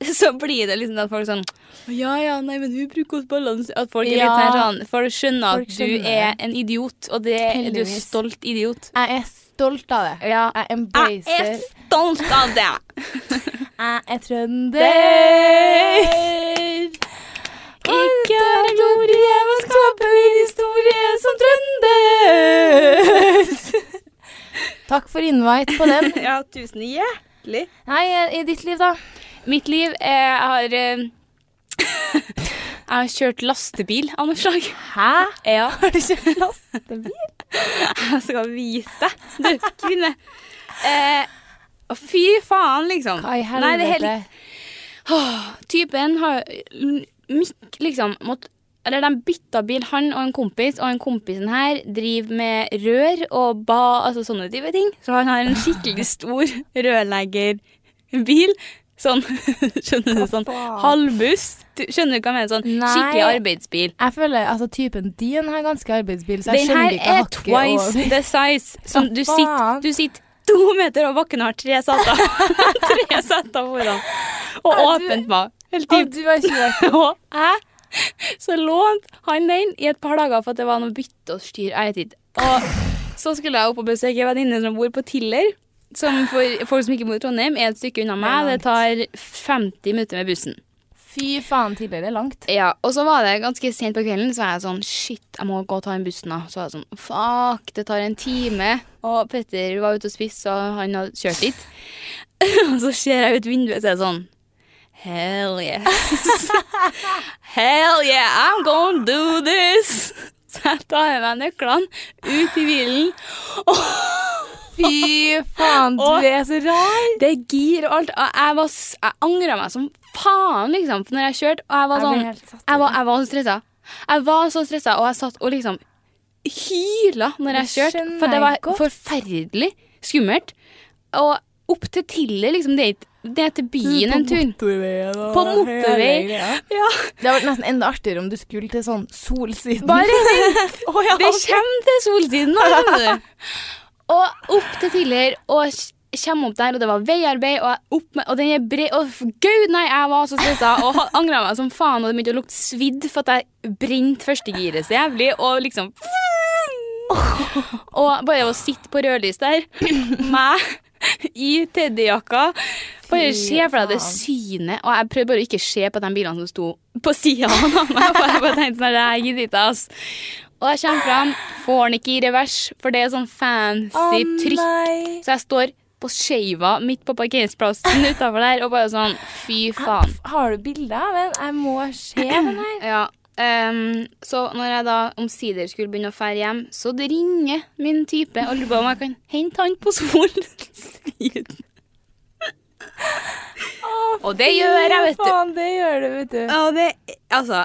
Speaker 2: så blir det liksom at folk sånn Å ja, ja, nei, men hun bruker oss balanse At folk er
Speaker 3: Ja.
Speaker 2: litt her sånn For å skjønne
Speaker 3: Folk
Speaker 2: at du
Speaker 3: skjønner
Speaker 2: er en idiot, og det er du er
Speaker 3: Heldigvis.
Speaker 2: stolt idiot.
Speaker 3: Jeg er stolt av det.
Speaker 2: Ja.
Speaker 3: Jeg
Speaker 2: Jeg er
Speaker 3: embracer
Speaker 2: stolt av det!
Speaker 3: Jeg er trønder. Ikke er ord jeg må skape din historie som trønder. Takk for invite på den.
Speaker 2: ja, tusen hjertelig.
Speaker 3: Nei, eh, i ditt liv, da?
Speaker 2: Mitt liv eh, Jeg har eh, Jeg har kjørt lastebil av noe slag.
Speaker 3: Hæ?
Speaker 2: Ja.
Speaker 3: Har du kjørt lastebil?
Speaker 2: Jeg skal vise deg, du kvinne. Eh, å, fy faen, liksom.
Speaker 3: Hva i
Speaker 2: Nei, det er
Speaker 3: helvete?
Speaker 2: helt Typen har mm, Mikk liksom måtte Eller de bytta bil, han og en kompis, og en kompisen her driver med rør og ba, altså sånne type ting. Så han har en skikkelig stor rørleggerbil. Sånn, skjønner du, sånn halvbuss. Du- Skjønner du hva jeg mener? Sånn
Speaker 3: Nei.
Speaker 2: skikkelig arbeidsbil.
Speaker 3: Jeg føler altså typen din har ganske arbeidsbil, så jeg
Speaker 2: Den
Speaker 3: skjønner
Speaker 2: her er
Speaker 3: ikke hakket
Speaker 2: twice
Speaker 3: over.
Speaker 2: the size. Som
Speaker 3: Hva
Speaker 2: du sitter,
Speaker 3: faen?
Speaker 2: du sitter to meter og bakken har tre seter. tre seter foran. Og
Speaker 3: Er du-
Speaker 2: åpent bak. Helt
Speaker 3: Å,
Speaker 2: dypt.
Speaker 3: du har ikke vært
Speaker 2: Og jeg Så lånte han den i et par dager for at det var noe bytte og styr. Jeg vet ikke. Og så skulle jeg opp og besøke en venninne som bor på Tiller. Som for folk som ikke bor i Trondheim, er et stykke unna meg. Det tar 50 minutter med bussen.
Speaker 3: Fy faen, tidligere langt.
Speaker 2: Ja, Og så var det ganske sent på kvelden, så var jeg sånn Shit, jeg må gå og ta den bussen, da. Så var jeg sånn Fuck, det tar en time. Og Petter var ute og spiste, og han hadde kjørt dit. og så ser jeg ut vinduet, så er det sånn Hell yes. Hell yeah, I'm gonna do this. Så jeg tar med meg nøklene ut i bilen.
Speaker 3: Fy faen,
Speaker 2: Å.
Speaker 3: du er så rar.
Speaker 2: Det er gir og alt. Og jeg, var, s- jeg angra meg som faen, liksom, for når jeg kjørte. Og jeg var
Speaker 3: Jeg ble
Speaker 2: sånn
Speaker 3: helt satt ut.
Speaker 2: Jeg var, jeg var så stressa. Jeg var så stressa, og jeg satt og liksom hyla når jeg
Speaker 3: Det
Speaker 2: kjørte.
Speaker 3: skjønner
Speaker 2: For det
Speaker 3: jeg
Speaker 2: var
Speaker 3: godt.
Speaker 2: forferdelig skummelt. Og opp til Tille, liksom. Det er ikke- det er til byen en tur.
Speaker 3: motorveien. og
Speaker 2: På motorvei.
Speaker 3: hele greia.
Speaker 2: Ja,
Speaker 3: Det hadde vært nesten enda artigere om du skulle til sånn solsiden.
Speaker 2: bare
Speaker 3: Å, ja,
Speaker 2: Det
Speaker 3: ok.
Speaker 2: kommer til solsiden nå, skjønner du. Og opp til Tiller, og kommer opp der, og det var veiarbeid, og, jeg opp med, og den er bred, og f- gud nei, jeg var så stressa, og angra meg som faen, og det begynte å lukte svidd for at jeg brente førstegiret så jævlig, og liksom Og bare å sitte på rødlys der, meg i teddyjakka Bare se for deg det synet, og jeg prøvde bare å ikke se på de bilene som sto på sida av meg, for jeg bare tenkte sånn, jeg gidder ikke, ass. Og jeg kommer fram, får den ikke i revers, for det er sånn fancy trykk.
Speaker 3: nei.
Speaker 2: Så jeg står på skeiva midt på parkeringsplassen utafor der og bare sånn Fy faen.
Speaker 3: Har du bilder av den? Jeg må se den her.
Speaker 2: Ja. ehm, så når jeg da omsider skulle begynne å fære hjem, så det ringer min type og lurer på om jeg kan hente han på Solsiden. Og det gjør jeg, vet du.
Speaker 3: Faen, det gjør du, vet du.
Speaker 2: Og det Altså.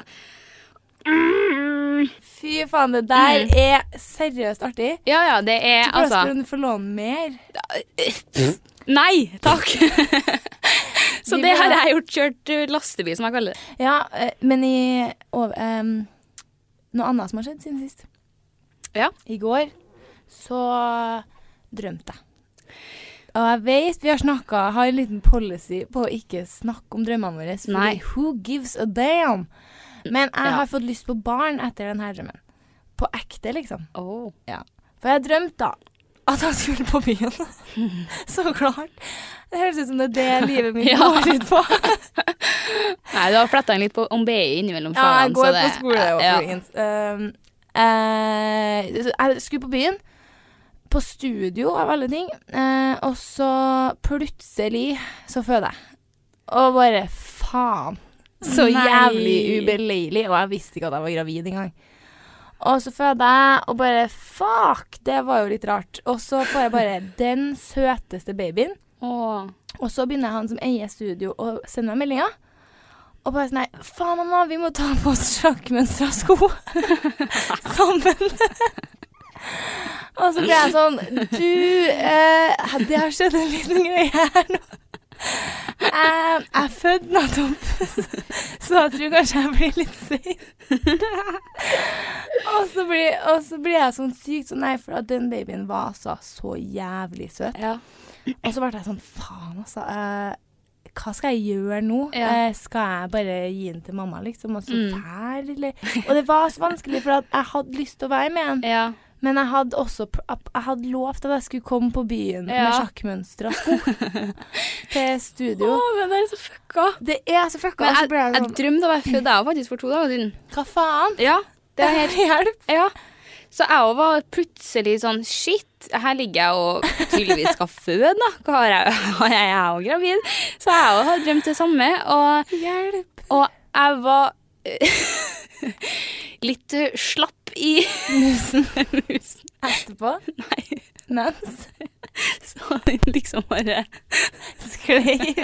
Speaker 3: Fy faen, det der er seriøst artig.
Speaker 2: Ja ja, det er
Speaker 3: Hvordan
Speaker 2: altså
Speaker 3: skulle du få låne mer?
Speaker 2: Nei takk. så
Speaker 3: Vi
Speaker 2: det
Speaker 3: må-
Speaker 2: har jeg gjort. Kjørt eh, lastebil, som jeg kaller det.
Speaker 3: Ja, eh, men i over, em, Noe annet som har skjedd siden sist.
Speaker 2: Ja.
Speaker 3: I går så drømte jeg. Og jeg vet vi har snakka, har en liten policy på å ikke snakke om drømmene våre. Fordi
Speaker 2: Nei.
Speaker 3: who gives a damn? Men jeg
Speaker 2: Ja.
Speaker 3: har fått lyst på barn etter denne drømmen. På ekte, liksom.
Speaker 2: Oh.
Speaker 3: Ja. For jeg drømte da at han skulle på byen. Så klart. Det høres ut som det er det livet mitt
Speaker 2: Ja.
Speaker 3: går ut på.
Speaker 2: Nei, du har fletta inn litt på om BI innimellom
Speaker 3: Ja,
Speaker 2: fagene.
Speaker 3: jeg går
Speaker 2: så det-
Speaker 3: på skole og
Speaker 2: ja.
Speaker 3: folkens. Um, eh, jeg skulle på byen. På studio, av alle ting. Eh, og så plutselig så føder jeg. Og bare faen. Så
Speaker 2: Nei.
Speaker 3: jævlig ubeleilig. Og jeg visste ikke at jeg var gravid engang. Og så føder jeg, og bare fuck, det var jo litt rart. Og så får jeg bare den søteste babyen.
Speaker 2: Åh.
Speaker 3: Og så begynner han som eier studio å sende meg meldinger. Og bare sånn Nei, faen, mamma, vi må ta på oss sjakkmønstra sko sammen. og så ble jeg sånn Du, eh, det har skjedd en liten greie her nå. Eh, jeg fødte nettopp, så jeg tror kanskje jeg blir litt sein. og, så blir- og så blir jeg sånn sykt sånn Nei, for at den babyen var altså så jævlig søt.
Speaker 2: Ja.
Speaker 3: Og så ble jeg sånn, faen altså, eh, hva skal jeg gjøre nå?
Speaker 2: Ja.
Speaker 3: Eh, skal jeg bare gi den til mamma, liksom, og så
Speaker 2: Mm.
Speaker 3: fær, eller? Og det var så vanskelig, for at jeg hadde lyst til å være med henne.
Speaker 2: ja.
Speaker 3: Men jeg hadde også, pr- ap- jeg hadde lovt at jeg skulle komme på byen med
Speaker 2: Ja.
Speaker 3: sjakkmønster og sko til studio.
Speaker 2: men det er så fucka.
Speaker 3: Det er så fucka,
Speaker 2: Men
Speaker 3: og så
Speaker 2: jeg,
Speaker 3: ble jeg
Speaker 2: jeg
Speaker 3: sånn,
Speaker 2: drømte av å være født, jeg òg, faktisk, for to dager siden.
Speaker 3: hva faen?
Speaker 2: Ja, det er helt
Speaker 3: Hjelp!
Speaker 2: Ja. Så jeg òg var plutselig sånn Shit, her ligger jeg og tydeligvis skal føde, da. Hva har jeg, har jeg, jeg er òg gravid. Så jeg òg har drømt det samme. Og,
Speaker 3: Hjelp!
Speaker 2: og jeg var eh, litt eh, slapp i musen. musen.
Speaker 3: Etterpå,
Speaker 2: Nei,
Speaker 3: mens,
Speaker 2: så den liksom bare
Speaker 3: sklei.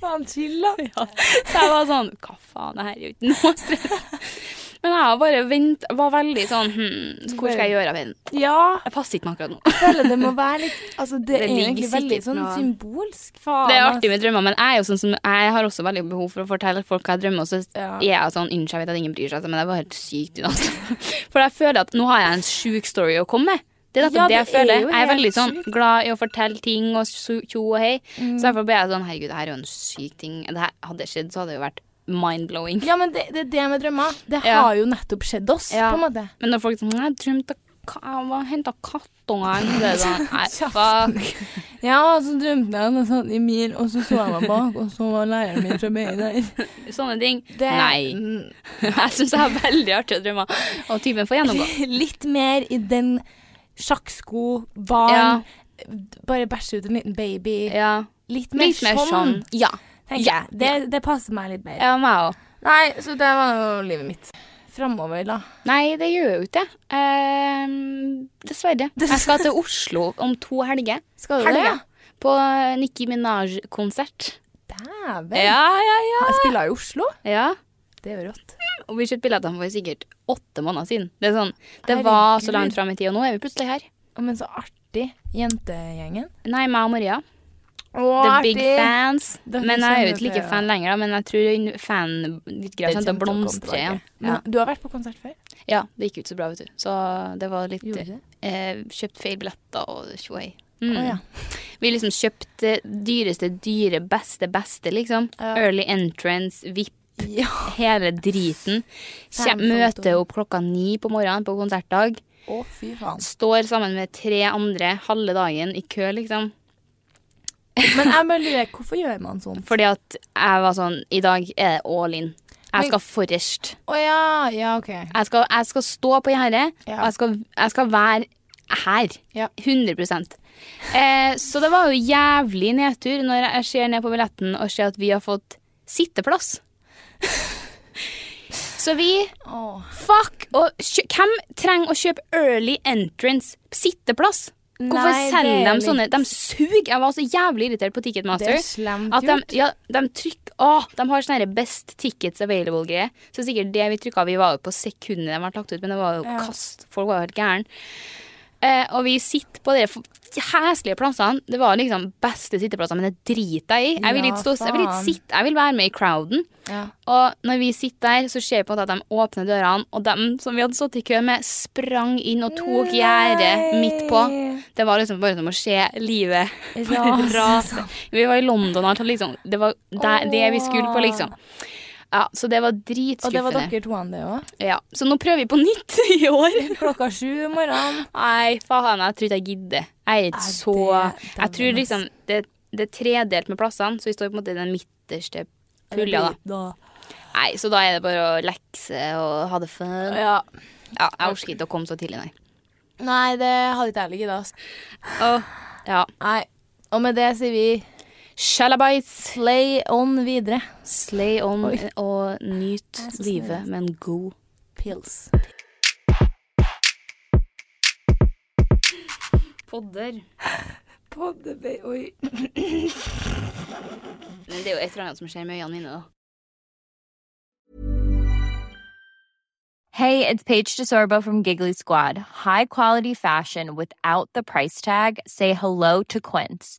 Speaker 3: Faen, chill da.
Speaker 2: Ja. Så jeg var sånn Hva faen? faen, det her er jo ikke noe stress. Men jeg har bare vent, var veldig sånn hm, Hvor skal jeg gjøre av den?
Speaker 3: Ja,
Speaker 2: Jeg passer ikke med akkurat nå.
Speaker 3: jeg føler det må være litt Altså, det,
Speaker 2: Det
Speaker 3: er
Speaker 2: ligger
Speaker 3: egentlig
Speaker 2: sikkert
Speaker 3: veldig sånn
Speaker 2: noe-
Speaker 3: symbolsk. Faen,
Speaker 2: Det er
Speaker 3: ass.
Speaker 2: artig med drømmer, men jeg, er jo sånn som, jeg har også veldig behov for å fortelle folk hva jeg drømmer. Og så
Speaker 3: Ja.
Speaker 2: er jeg sånn Unnskyld, jeg vet at ingen bryr seg, men det var helt sykt i natt. For jeg føler at nå har jeg en sjuk story å komme med. Det er nettopp
Speaker 3: Ja,
Speaker 2: det jeg
Speaker 3: det er
Speaker 2: føler.
Speaker 3: jo
Speaker 2: Jeg er
Speaker 3: helt
Speaker 2: veldig sånn
Speaker 3: sykt. Mm.
Speaker 2: glad i å fortelle ting og su- tjo og hei. Så derfor ble jeg sånn Herregud, det her er jo en syk ting. Det her hadde det skjedd, så hadde det jo vært mind-blowing.
Speaker 3: Ja, men det, det er det med drømmer. Det
Speaker 2: Ja.
Speaker 3: har jo nettopp skjedd oss,
Speaker 2: Ja.
Speaker 3: på en måte.
Speaker 2: Men når folk er sånn Jeg drømte ka- jeg henta kattungene. Det er sånn Nei, fuck.
Speaker 3: Ja, og så drømte jeg noe sånt i mil, og så så jeg meg bak, og så var læreren min fra BI der.
Speaker 2: Sånne ting. Nei. Jeg syns jeg har veldig artige drømmer. Og typen får gjennomgå.
Speaker 3: Litt mer i den sjakksko, barn, bare bæsje ut en liten baby.
Speaker 2: Ja.
Speaker 3: Litt mer,
Speaker 2: Litt mer
Speaker 3: sånn,
Speaker 2: sånn. Ja.
Speaker 3: tenker
Speaker 2: Ja,
Speaker 3: jeg. Det, det passer meg litt bedre.
Speaker 2: Ja, meg òg.
Speaker 3: Nei, så det var jo livet mitt. Framover, da.
Speaker 2: Nei, det gjør jo ikke det. Ehm, dessverre. Jeg skal til Oslo om to helger.
Speaker 3: Skal du det?
Speaker 2: Helga. På Nikki Minaj-konsert.
Speaker 3: Dæven.
Speaker 2: Ja, ja, ja.
Speaker 3: Jeg spiller i Oslo.
Speaker 2: Ja.
Speaker 3: Det er jo rått.
Speaker 2: Og vi kjøpte billettene for sikkert åtte måneder siden. Det er sånn, det var så
Speaker 3: Herregud.
Speaker 2: langt fram i tid, og nå er vi plutselig her.
Speaker 3: Å, Men så artig. Jentegjengen.
Speaker 2: Nei, meg og Maria.
Speaker 3: Å,
Speaker 2: The big fans.
Speaker 3: Dere
Speaker 2: men jeg er jo
Speaker 3: kjenner
Speaker 2: ikke like
Speaker 3: til-
Speaker 2: fan lenger, da. Men jeg tror hun- fan-greia kommer til å blomstre igjen. Ja.
Speaker 3: Du har vært på konsert før?
Speaker 2: ja, det gikk ut så bra, vet du. Så det var litt
Speaker 3: Gjorde du det?
Speaker 2: eh, Kjøpt feil billetter og tjoei.
Speaker 3: Å
Speaker 2: Mm.
Speaker 3: ja.
Speaker 2: Vi liksom kjøpte dyreste, dyre, beste, beste, liksom.
Speaker 3: Ja.
Speaker 2: Early entrance, VIP, hele driten. Kjem-
Speaker 3: Fanfoto.
Speaker 2: Møter opp klokka ni på morgenen på konsertdag.
Speaker 3: Å, fy faen.
Speaker 2: Står sammen med tre andre halve dagen i kø, liksom.
Speaker 3: Men jeg bare lurer, hvorfor gjør man sånn?
Speaker 2: Fordi at jeg var sånn I dag er det all in.
Speaker 3: Men-
Speaker 2: Jeg skal forrest.
Speaker 3: Å ja, ja, OK.
Speaker 2: Jeg skal, jeg skal stå på gjerdet,
Speaker 3: Ja.
Speaker 2: og jeg skal, jeg skal være her.
Speaker 3: Ja.
Speaker 2: 100 eh, Så det var jo jævlig nedtur når jeg ser ned på billetten og ser at vi har fått sitteplass. Så vi
Speaker 3: Å.
Speaker 2: Fuck! Og kjø, hvem trenger å kjøpe early entrance sitteplass? Hvorfor
Speaker 3: Nei, det
Speaker 2: selger
Speaker 3: er
Speaker 2: de sånne?
Speaker 3: litt-
Speaker 2: De suger! Jeg var så jævlig irritert på
Speaker 3: Det
Speaker 2: Ticketmaster.
Speaker 3: er slemt
Speaker 2: At de,
Speaker 3: gjort.
Speaker 2: ja, de trykker Åh, de har sånne her Best Tickets Available-greier. Så sikkert det vi trykka Vi var jo på sekundet de ble lagt ut, men det var jo
Speaker 3: Ja.
Speaker 2: kast. Folk var jo helt gæren. Eh, og vi sitter på de f- heslige plassene. Det var liksom beste sitteplassene, men det driter jeg i. Jeg vil
Speaker 3: Ja,
Speaker 2: ikke stå Jeg vil ikke
Speaker 3: faen.
Speaker 2: sitte Jeg vil være med i crowden.
Speaker 3: Ja.
Speaker 2: Og når vi sitter der, så ser vi på en måte at de åpner dørene, og dem som vi hadde stått i kø med, sprang inn og tok gjerdet midt på. Det var liksom bare som å se livet bare
Speaker 3: Rase.
Speaker 2: rase. Vi var i London og alt, og liksom Det var der, det vi skulle på, liksom. Ja, så det var
Speaker 3: Og det var
Speaker 2: dritskuffende.
Speaker 3: dere to, det òg?
Speaker 2: Ja, så nå prøver vi på nytt i år.
Speaker 3: Klokka sju om morgenen.
Speaker 2: Nei, faen, jeg tror ikke jeg gidder. Jeg er ikke
Speaker 3: Nei,
Speaker 2: så
Speaker 3: det-
Speaker 2: Jeg
Speaker 3: det var
Speaker 2: tror liksom det, det er tredelt med plassene, så vi står på en måte i den midterste pulja, da. Nei, så da er det bare å lekse og ha det fun.
Speaker 3: Ja.
Speaker 2: Ja, jeg orker ikke å komme så tidlig, nei.
Speaker 3: Nei, det hadde ikke jeg ligget da.
Speaker 2: Åh, ja.
Speaker 3: Nei. Og med det sier vi
Speaker 2: Shalabites,
Speaker 3: play on videre.
Speaker 2: slay on og nyt
Speaker 3: Jeg er så
Speaker 2: livet
Speaker 3: snill.
Speaker 2: med en god
Speaker 3: Pils.
Speaker 2: podder.
Speaker 3: Poddebay, oi.
Speaker 2: Men det er jo et eller annet som skjer med øynene mine, da.
Speaker 5: Hey, it's Paige DeSorbo from Giggly Squad. High quality fashion without the price tag. Say hello to Quince.